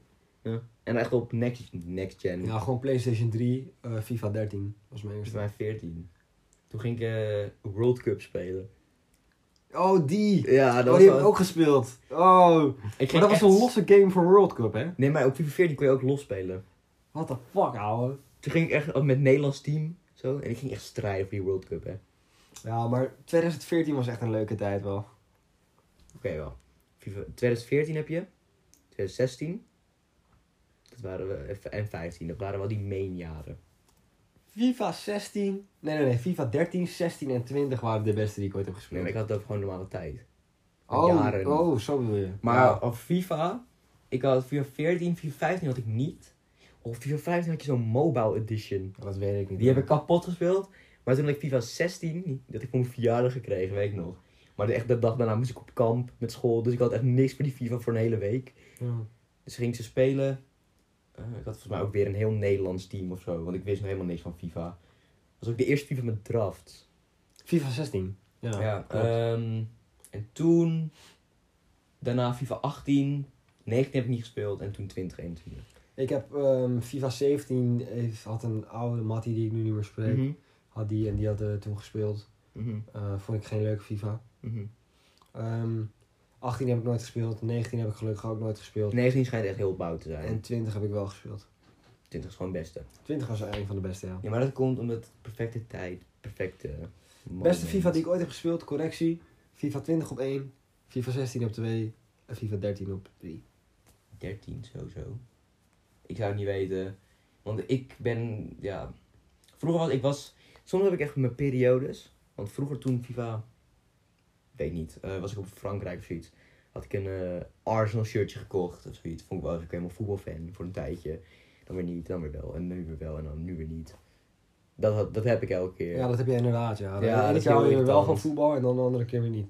[SPEAKER 2] En echt op next, next gen.
[SPEAKER 1] Ja, gewoon PlayStation 3, eh, FIFA 13 was mijn
[SPEAKER 2] Volgens
[SPEAKER 1] eerste.
[SPEAKER 2] mij 14. Toen ging ik eh, World Cup spelen.
[SPEAKER 1] Oh, die!
[SPEAKER 2] Ja,
[SPEAKER 1] oh, die heb ik ook gespeeld. Oh,
[SPEAKER 2] Ik
[SPEAKER 1] maar
[SPEAKER 2] ging
[SPEAKER 1] dat was
[SPEAKER 2] echt-
[SPEAKER 1] een losse game voor World Cup, hè?
[SPEAKER 2] Nee, maar op FIFA 14 kon je ook los spelen.
[SPEAKER 1] What the fuck, ouwe.
[SPEAKER 2] Toen ging ik echt met het Nederlands team. Zo, en ik ging echt strijden voor die World Cup, hè. Oké,
[SPEAKER 1] Ja, maar 2014 was echt een leuke tijd wel.
[SPEAKER 2] wel. FIFA, 2014 heb je. 2016. Dat waren we. En 15. Dat waren wel die main jaren.
[SPEAKER 1] FIFA 16. Nee, nee, nee. FIFA 13, 16 en 20 waren de beste die ik ooit heb
[SPEAKER 2] Nee,
[SPEAKER 1] gespeeld.
[SPEAKER 2] maar ik had het over gewoon normale tijd.
[SPEAKER 1] oh,
[SPEAKER 2] jaren.
[SPEAKER 1] oh, zo bedoel je.
[SPEAKER 2] Maar
[SPEAKER 1] Ja.
[SPEAKER 2] op FIFA, ik had FIFA 14, FIFA 15 had ik niet. Op FIFA 15 had je zo'n mobile edition.
[SPEAKER 1] dat weet ik niet.
[SPEAKER 2] Die heb ik kapot gespeeld. Maar toen had ik FIFA 16, dat ik voor mijn verjaardag gekregen, weet ik nog. Maar echt de dag daarna moest ik op kamp met school. Dus ik had echt niks voor die FIFA voor een hele week.
[SPEAKER 1] Ja.
[SPEAKER 2] Dus ging ik ze spelen. Eh, ik had volgens mij ook weer een heel Nederlands team of zo. Want ik wist nog helemaal niks van FIFA. Dat was ook de eerste FIFA met draft.
[SPEAKER 1] FIFA 16. Ja.
[SPEAKER 2] Ja,
[SPEAKER 1] klopt.
[SPEAKER 2] ehm, en toen, daarna FIFA 18, 19 heb ik niet gespeeld en toen 20, 21.
[SPEAKER 1] Ik heb ehm, FIFA 17, heeft, had een oude Mattie die ik nu niet meer spreek,
[SPEAKER 2] Mhm,
[SPEAKER 1] had die en die had eh, toen gespeeld.
[SPEAKER 2] mhm,
[SPEAKER 1] Eh, vond ik geen leuke FIFA.
[SPEAKER 2] mhm.
[SPEAKER 1] Ehm, 18 heb ik nooit gespeeld, 19 heb ik gelukkig ook nooit gespeeld.
[SPEAKER 2] 19 schijnt echt heel bouw te zijn.
[SPEAKER 1] En 20 heb ik wel gespeeld.
[SPEAKER 2] 20 is gewoon het beste.
[SPEAKER 1] 20 was een van de beste, ja.
[SPEAKER 2] Ja, maar dat komt omdat perfecte tijd, perfecte moment.
[SPEAKER 1] Beste FIFA die ik ooit heb gespeeld, correctie. FIFA 20 op 1, FIFA 16 op 2 en FIFA 13 op 3.
[SPEAKER 2] 13 sowieso. Ik zou het niet weten. Want ik ben, ja... Vroeger was ik was... Soms heb ik echt mijn periodes. Want vroeger toen FIFA... Weet niet. eh, was ik op Frankrijk of zoiets. Had ik een eh, Arsenal shirtje gekocht of zoiets. Vond ik wel eens ik helemaal voetbalfan voor een tijdje. Dan weer niet, dan weer wel. En nu weer wel en dan nu weer niet. Dat, had- dat heb ik elke keer.
[SPEAKER 1] Ja, dat heb je inderdaad, ja.
[SPEAKER 2] Ja,
[SPEAKER 1] De
[SPEAKER 2] dat
[SPEAKER 1] ene
[SPEAKER 2] is
[SPEAKER 1] keer
[SPEAKER 2] heel
[SPEAKER 1] hou je wel
[SPEAKER 2] irritant.
[SPEAKER 1] van voetbal en dan de andere keer weer niet.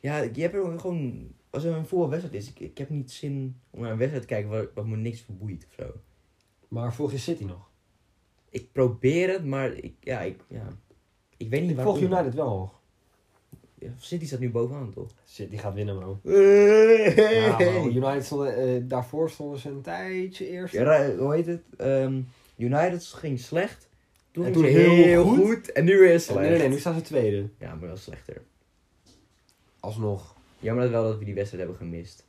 [SPEAKER 2] Ja, je hebt er gewoon... Als er een voetbalwedstrijd is, ik, ik heb niet zin om naar een wedstrijd te kijken waar, wat me niks verboeit of zo.
[SPEAKER 1] Maar volg je City nog?
[SPEAKER 2] Ik probeer het, maar ik, ja, ik, ja. ik weet niet
[SPEAKER 1] Ik
[SPEAKER 2] waarom.
[SPEAKER 1] volg United wel nog.
[SPEAKER 2] Ja, City staat nu bovenaan, toch?
[SPEAKER 1] City gaat winnen, man. Ja,
[SPEAKER 2] Ja,
[SPEAKER 1] maar United stonden, eh, daarvoor stonden ze een tijdje eerst.
[SPEAKER 2] ra- hoe heet het? Ehm, United ging slecht. Toen
[SPEAKER 1] En
[SPEAKER 2] ging
[SPEAKER 1] toen
[SPEAKER 2] ze
[SPEAKER 1] heel
[SPEAKER 2] heel, goed.
[SPEAKER 1] goed.
[SPEAKER 2] En nu weer slecht.
[SPEAKER 1] nee, nee, nee, nu staan ze tweede.
[SPEAKER 2] Ja, maar wel slechter.
[SPEAKER 1] Alsnog.
[SPEAKER 2] Jammer dat wel dat we die wedstrijd hebben gemist.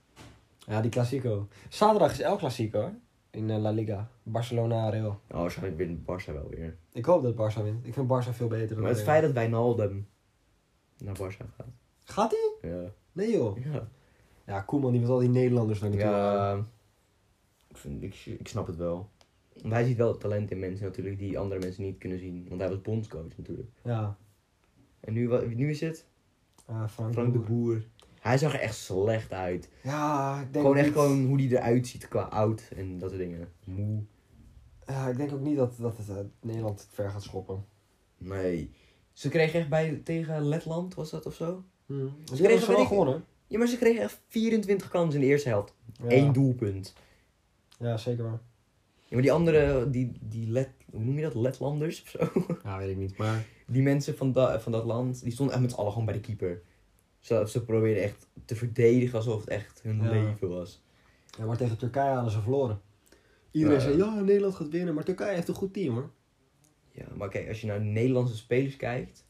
[SPEAKER 1] Ja, die Classico. Zaterdag is El Clasico, hè? In eh, La Liga. Barcelona-Real.
[SPEAKER 2] Oh, waarschijnlijk wint Barça wel weer.
[SPEAKER 1] Ik hoop dat Barça wint. Ik vind Barça veel beter dan
[SPEAKER 2] Maar het
[SPEAKER 1] Real.
[SPEAKER 2] feit dat Wijnaldum naar Barça gaat.
[SPEAKER 1] Gaat hij?
[SPEAKER 2] Ja.
[SPEAKER 1] Nee, joh.
[SPEAKER 2] Ja.
[SPEAKER 1] Ja, Koeman, die met al die Nederlanders naar naartoe. Ja.
[SPEAKER 2] ja. Ik, vind, ik, ik snap het wel. Want hij ziet wel het talent in mensen natuurlijk die andere mensen niet kunnen zien. Want hij was bondscoach natuurlijk.
[SPEAKER 1] ja.
[SPEAKER 2] En nu, wa- nu is het?
[SPEAKER 1] Eh, Frank,
[SPEAKER 2] Frank
[SPEAKER 1] de
[SPEAKER 2] de
[SPEAKER 1] Boer.
[SPEAKER 2] Boer. Hij zag er echt slecht uit.
[SPEAKER 1] Ja, ik denk
[SPEAKER 2] gewoon echt
[SPEAKER 1] niet-
[SPEAKER 2] gewoon hoe hij eruit ziet qua oud en dat soort dingen. Moe.
[SPEAKER 1] Ja, ik denk ook niet dat, dat het, eh, Nederland het ver gaat schoppen.
[SPEAKER 2] Nee. Ze kregen echt bij, tegen Letland, was dat of zo?
[SPEAKER 1] Hm. Ze Die hebben ze
[SPEAKER 2] weet
[SPEAKER 1] wel
[SPEAKER 2] ik-
[SPEAKER 1] gewonnen.
[SPEAKER 2] Ja, maar ze kregen echt 24 kansen in de eerste helft.
[SPEAKER 1] Ja.
[SPEAKER 2] Eén doelpunt.
[SPEAKER 1] Ja, zeker waar.
[SPEAKER 2] maar die andere, die, die Let, hoe noem je dat? Letlanders of zo?
[SPEAKER 1] Ja, weet ik niet. Maar
[SPEAKER 2] Die mensen van, da- van dat land, die stonden echt met z'n allen gewoon bij de keeper. Ze, ze probeerden echt te verdedigen alsof het echt hun
[SPEAKER 1] Ja.
[SPEAKER 2] leven was.
[SPEAKER 1] Ja, maar tegen Turkije hadden ze verloren. Iedereen
[SPEAKER 2] Ja.
[SPEAKER 1] zei, ja, Nederland gaat winnen, maar Turkije heeft een goed team, hoor.
[SPEAKER 2] Ja, maar kijk, als je naar Nederlandse spelers kijkt.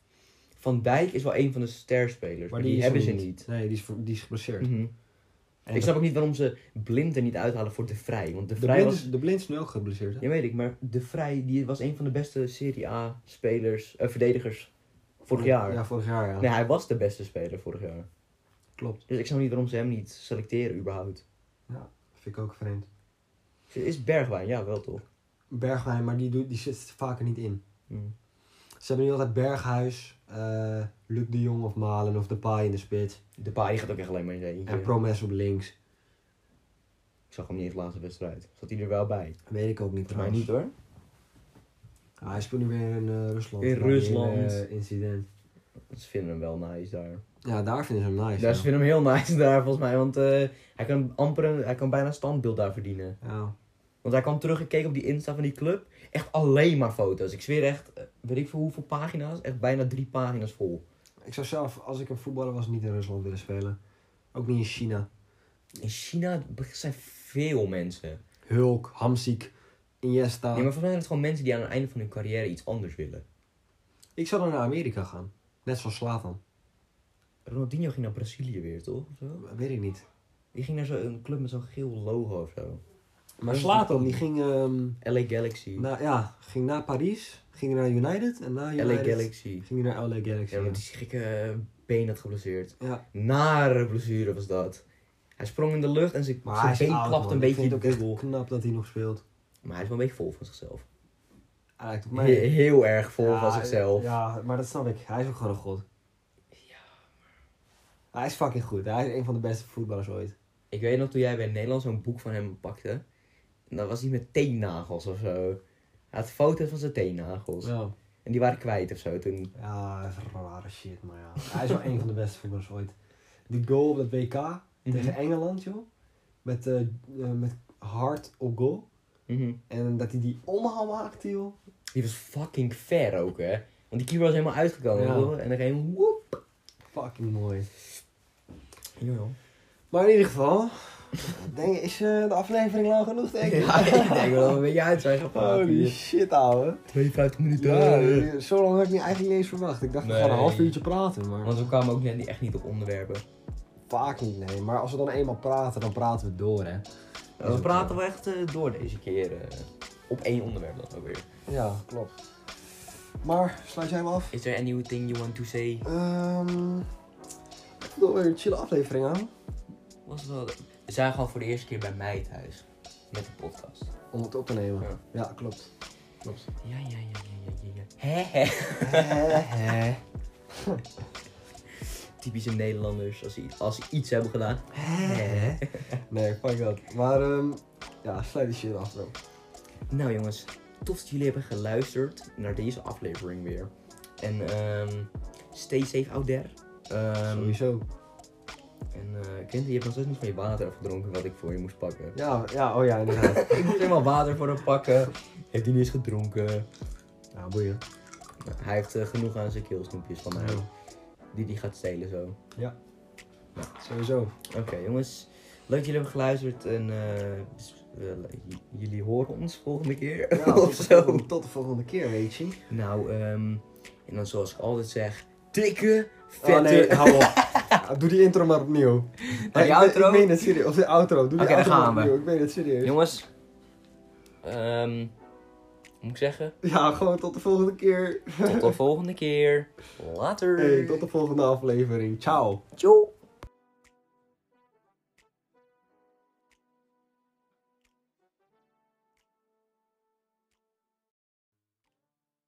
[SPEAKER 2] Van Dijk is wel een van de sterspelers, maar, die,
[SPEAKER 1] is er
[SPEAKER 2] hebben ze niet.
[SPEAKER 1] Nee, die is, ver- die is geblesseerd.
[SPEAKER 2] Mhm.
[SPEAKER 1] En
[SPEAKER 2] Ik
[SPEAKER 1] de-
[SPEAKER 2] snap ook niet waarom ze Blind er niet uithalen voor De Vrij. Want De
[SPEAKER 1] de,
[SPEAKER 2] Vrij
[SPEAKER 1] blind
[SPEAKER 2] was...
[SPEAKER 1] is, de blind is nu ook geblesseerd, hè?
[SPEAKER 2] Ja, weet ik, maar De Vrij die was een van de beste Serie A spelers, eh, verdedigers vorig jaar.
[SPEAKER 1] Ja, vorig jaar, ja.
[SPEAKER 2] Nee, hij was de beste speler vorig jaar.
[SPEAKER 1] Klopt.
[SPEAKER 2] Dus ik snap niet waarom ze hem niet selecteren überhaupt.
[SPEAKER 1] Vind ik ook vreemd.
[SPEAKER 2] Is Bergwijn, ja wel toch?
[SPEAKER 1] Bergwijn, maar die, doet, die zit er vaker niet in.
[SPEAKER 2] Mm.
[SPEAKER 1] Ze hebben nu altijd Berghuis, eh, Luc de Jong of Malen of Depay in de spits.
[SPEAKER 2] De Paai gaat ook echt alleen maar in zijn
[SPEAKER 1] En
[SPEAKER 2] eentje.
[SPEAKER 1] Promes op links.
[SPEAKER 2] Ik zag hem niet eens de laatste wedstrijd. Zat hij er wel bij?
[SPEAKER 1] Weet ik ook niet
[SPEAKER 2] Volgens mij
[SPEAKER 1] trouwens.
[SPEAKER 2] niet hoor.
[SPEAKER 1] Ah, hij speelt nu weer in eh, Rusland.
[SPEAKER 2] In
[SPEAKER 1] Na die
[SPEAKER 2] Rusland.
[SPEAKER 1] hele, eh, incident.
[SPEAKER 2] Ze vinden hem wel nice daar.
[SPEAKER 1] Ja, daar vinden ze hem nice.
[SPEAKER 2] Ja,
[SPEAKER 1] ja.
[SPEAKER 2] ze vinden hem heel nice daar volgens mij, want eh, hij, kan amper een- hij kan bijna een standbeeld daar verdienen.
[SPEAKER 1] Ja.
[SPEAKER 2] Want hij kwam terug en keek op die Insta van die club. Echt alleen maar foto's. Ik zweer echt, eh, weet ik veel hoeveel pagina's, echt bijna drie pagina's vol.
[SPEAKER 1] Ik zou zelf, als ik een voetballer was, niet in Rusland willen spelen. Ook niet in China.
[SPEAKER 2] In China zijn veel mensen.
[SPEAKER 1] Hulk, Hamziek, Iniesta.
[SPEAKER 2] Nee, maar volgens mij zijn het gewoon mensen die aan het einde van hun carrière iets anders willen.
[SPEAKER 1] Ik zou dan naar Amerika gaan. Net zoals Slatan.
[SPEAKER 2] Ronaldinho ging naar Brazilië weer, toch? Of zo?
[SPEAKER 1] Weet ik niet.
[SPEAKER 2] Die ging naar zo'n club met zo'n geel logo of zo.
[SPEAKER 1] Maar Slatan, die ging, ehm,
[SPEAKER 2] LA Galaxy.
[SPEAKER 1] na, ja, ging na Parijs, ging naar United en na
[SPEAKER 2] LA
[SPEAKER 1] United
[SPEAKER 2] Galaxy.
[SPEAKER 1] ging hij naar LA Galaxy.
[SPEAKER 2] Ja, want die gekke been had geblesseerd.
[SPEAKER 1] Ja.
[SPEAKER 2] Nare blessure was dat. Hij sprong in de lucht en zijn,
[SPEAKER 1] Maar hij
[SPEAKER 2] zijn
[SPEAKER 1] is
[SPEAKER 2] been
[SPEAKER 1] oud,
[SPEAKER 2] klapte
[SPEAKER 1] man.
[SPEAKER 2] een
[SPEAKER 1] Ik
[SPEAKER 2] beetje
[SPEAKER 1] vind
[SPEAKER 2] in
[SPEAKER 1] het
[SPEAKER 2] de
[SPEAKER 1] ook echt
[SPEAKER 2] bubbel.
[SPEAKER 1] knap dat hij nog speelt.
[SPEAKER 2] Maar hij is wel een beetje vol van zichzelf.
[SPEAKER 1] Hij lijkt op
[SPEAKER 2] He-
[SPEAKER 1] mij.
[SPEAKER 2] heel erg vol
[SPEAKER 1] Ja,
[SPEAKER 2] van zichzelf.
[SPEAKER 1] Ja, maar dat snap ik. Hij is ook gewoon een god. Hij is fucking goed. Hij is een van de beste voetballers ooit.
[SPEAKER 2] Ik weet nog toen jij bij Nederland zo'n boek van hem pakte. En dat was hij met teennagels of zo. Hij had foto's van zijn teennagels.
[SPEAKER 1] Ja.
[SPEAKER 2] En die waren kwijt of zo. Toen...
[SPEAKER 1] Ja, dat is rare shit, maar ja. Hij is wel een van de beste voetballers ooit. Die goal op het WK
[SPEAKER 2] Mhm.
[SPEAKER 1] tegen Engeland, joh. Met, eh eh, met hard op goal.
[SPEAKER 2] Mhm.
[SPEAKER 1] En dat hij die omhaal maakte, joh.
[SPEAKER 2] Die was fucking ver ook, hè. Want die keeper was helemaal uitgekomen.
[SPEAKER 1] Ja.
[SPEAKER 2] hoor. En dan ging hij woep.
[SPEAKER 1] Fucking mooi. Maar in ieder geval, denk, je, is eh, de aflevering lang genoeg, denk ik?
[SPEAKER 2] Ja, ik denk wel dat we een beetje uit zijn gepraat
[SPEAKER 1] Holy
[SPEAKER 2] hier.
[SPEAKER 1] shit, ouwe.
[SPEAKER 2] 52 minuten.
[SPEAKER 1] Ja, zo lang had ik niet eigenlijk niet eens verwacht. Ik dacht, we gaan een
[SPEAKER 2] Nee.
[SPEAKER 1] half uurtje praten, maar...
[SPEAKER 2] Want we kwamen ook net niet- echt niet op onderwerpen.
[SPEAKER 1] Vaak niet, nee. Maar als we dan eenmaal praten, dan praten we door, hè. Is
[SPEAKER 2] we
[SPEAKER 1] ook
[SPEAKER 2] praten wel echt eh, door deze keer. eh, op één onderwerp dan ook weer.
[SPEAKER 1] Ja, klopt. Maar, sluit jij hem af?
[SPEAKER 2] Is there anything you want to say?
[SPEAKER 1] Ehm ik wil weer een chille aflevering aan.
[SPEAKER 2] Was wel... We zijn gewoon voor de eerste keer bij mij thuis. Met de podcast.
[SPEAKER 1] Om het op te nemen.
[SPEAKER 2] Ja.
[SPEAKER 1] Ja, klopt. Klopt.
[SPEAKER 2] Ja, ja, ja, ja, ja, ja. Hè, hè. Typische Nederlanders. Als ze, i- als ze iets hebben gedaan. Hè.
[SPEAKER 1] nee, fuck dat. Maar ehm ja, sluit die shit af bro.
[SPEAKER 2] Nou jongens, tof dat jullie hebben geluisterd naar deze aflevering weer. En ehm stay safe out there. Ehm,
[SPEAKER 1] Sowieso.
[SPEAKER 2] en eh Quinten, je hebt nog steeds niet van je water afgedronken wat ik voor je moest pakken.
[SPEAKER 1] Ja, ja, oh ja, inderdaad.
[SPEAKER 2] ik moest helemaal water voor hem pakken. Heeft hij niet eens gedronken.
[SPEAKER 1] ja, boeien.
[SPEAKER 2] Hij heeft eh, genoeg aan zijn keelsnoepjes van mij.
[SPEAKER 1] Ja.
[SPEAKER 2] Die hij gaat stelen zo.
[SPEAKER 1] Sowieso.
[SPEAKER 2] Oké jongens, leuk dat jullie hebben geluisterd. En eh, we- j- jullie horen ons volgende keer.
[SPEAKER 1] Ja, tot,
[SPEAKER 2] of
[SPEAKER 1] de
[SPEAKER 2] zo.
[SPEAKER 1] volgende, tot de volgende keer, weet je. Ah,
[SPEAKER 2] Nou, ehm, en dan zoals ik altijd zeg, dikke, vette...
[SPEAKER 1] Oh nee, hou op. Doe die intro maar opnieuw.
[SPEAKER 2] die
[SPEAKER 1] ik ben-
[SPEAKER 2] outro?
[SPEAKER 1] Ik meen het serieus. Of de outro. Doe die
[SPEAKER 2] Oké, daar
[SPEAKER 1] outro maar
[SPEAKER 2] gaan we.
[SPEAKER 1] opnieuw. Ik meen het serieus.
[SPEAKER 2] Jongens, ehm, moet ik zeggen,
[SPEAKER 1] Ja, gewoon tot de volgende keer.
[SPEAKER 2] tot de volgende keer. Later.
[SPEAKER 1] Hey, tot de volgende aflevering. Ciao.
[SPEAKER 2] Tjoe.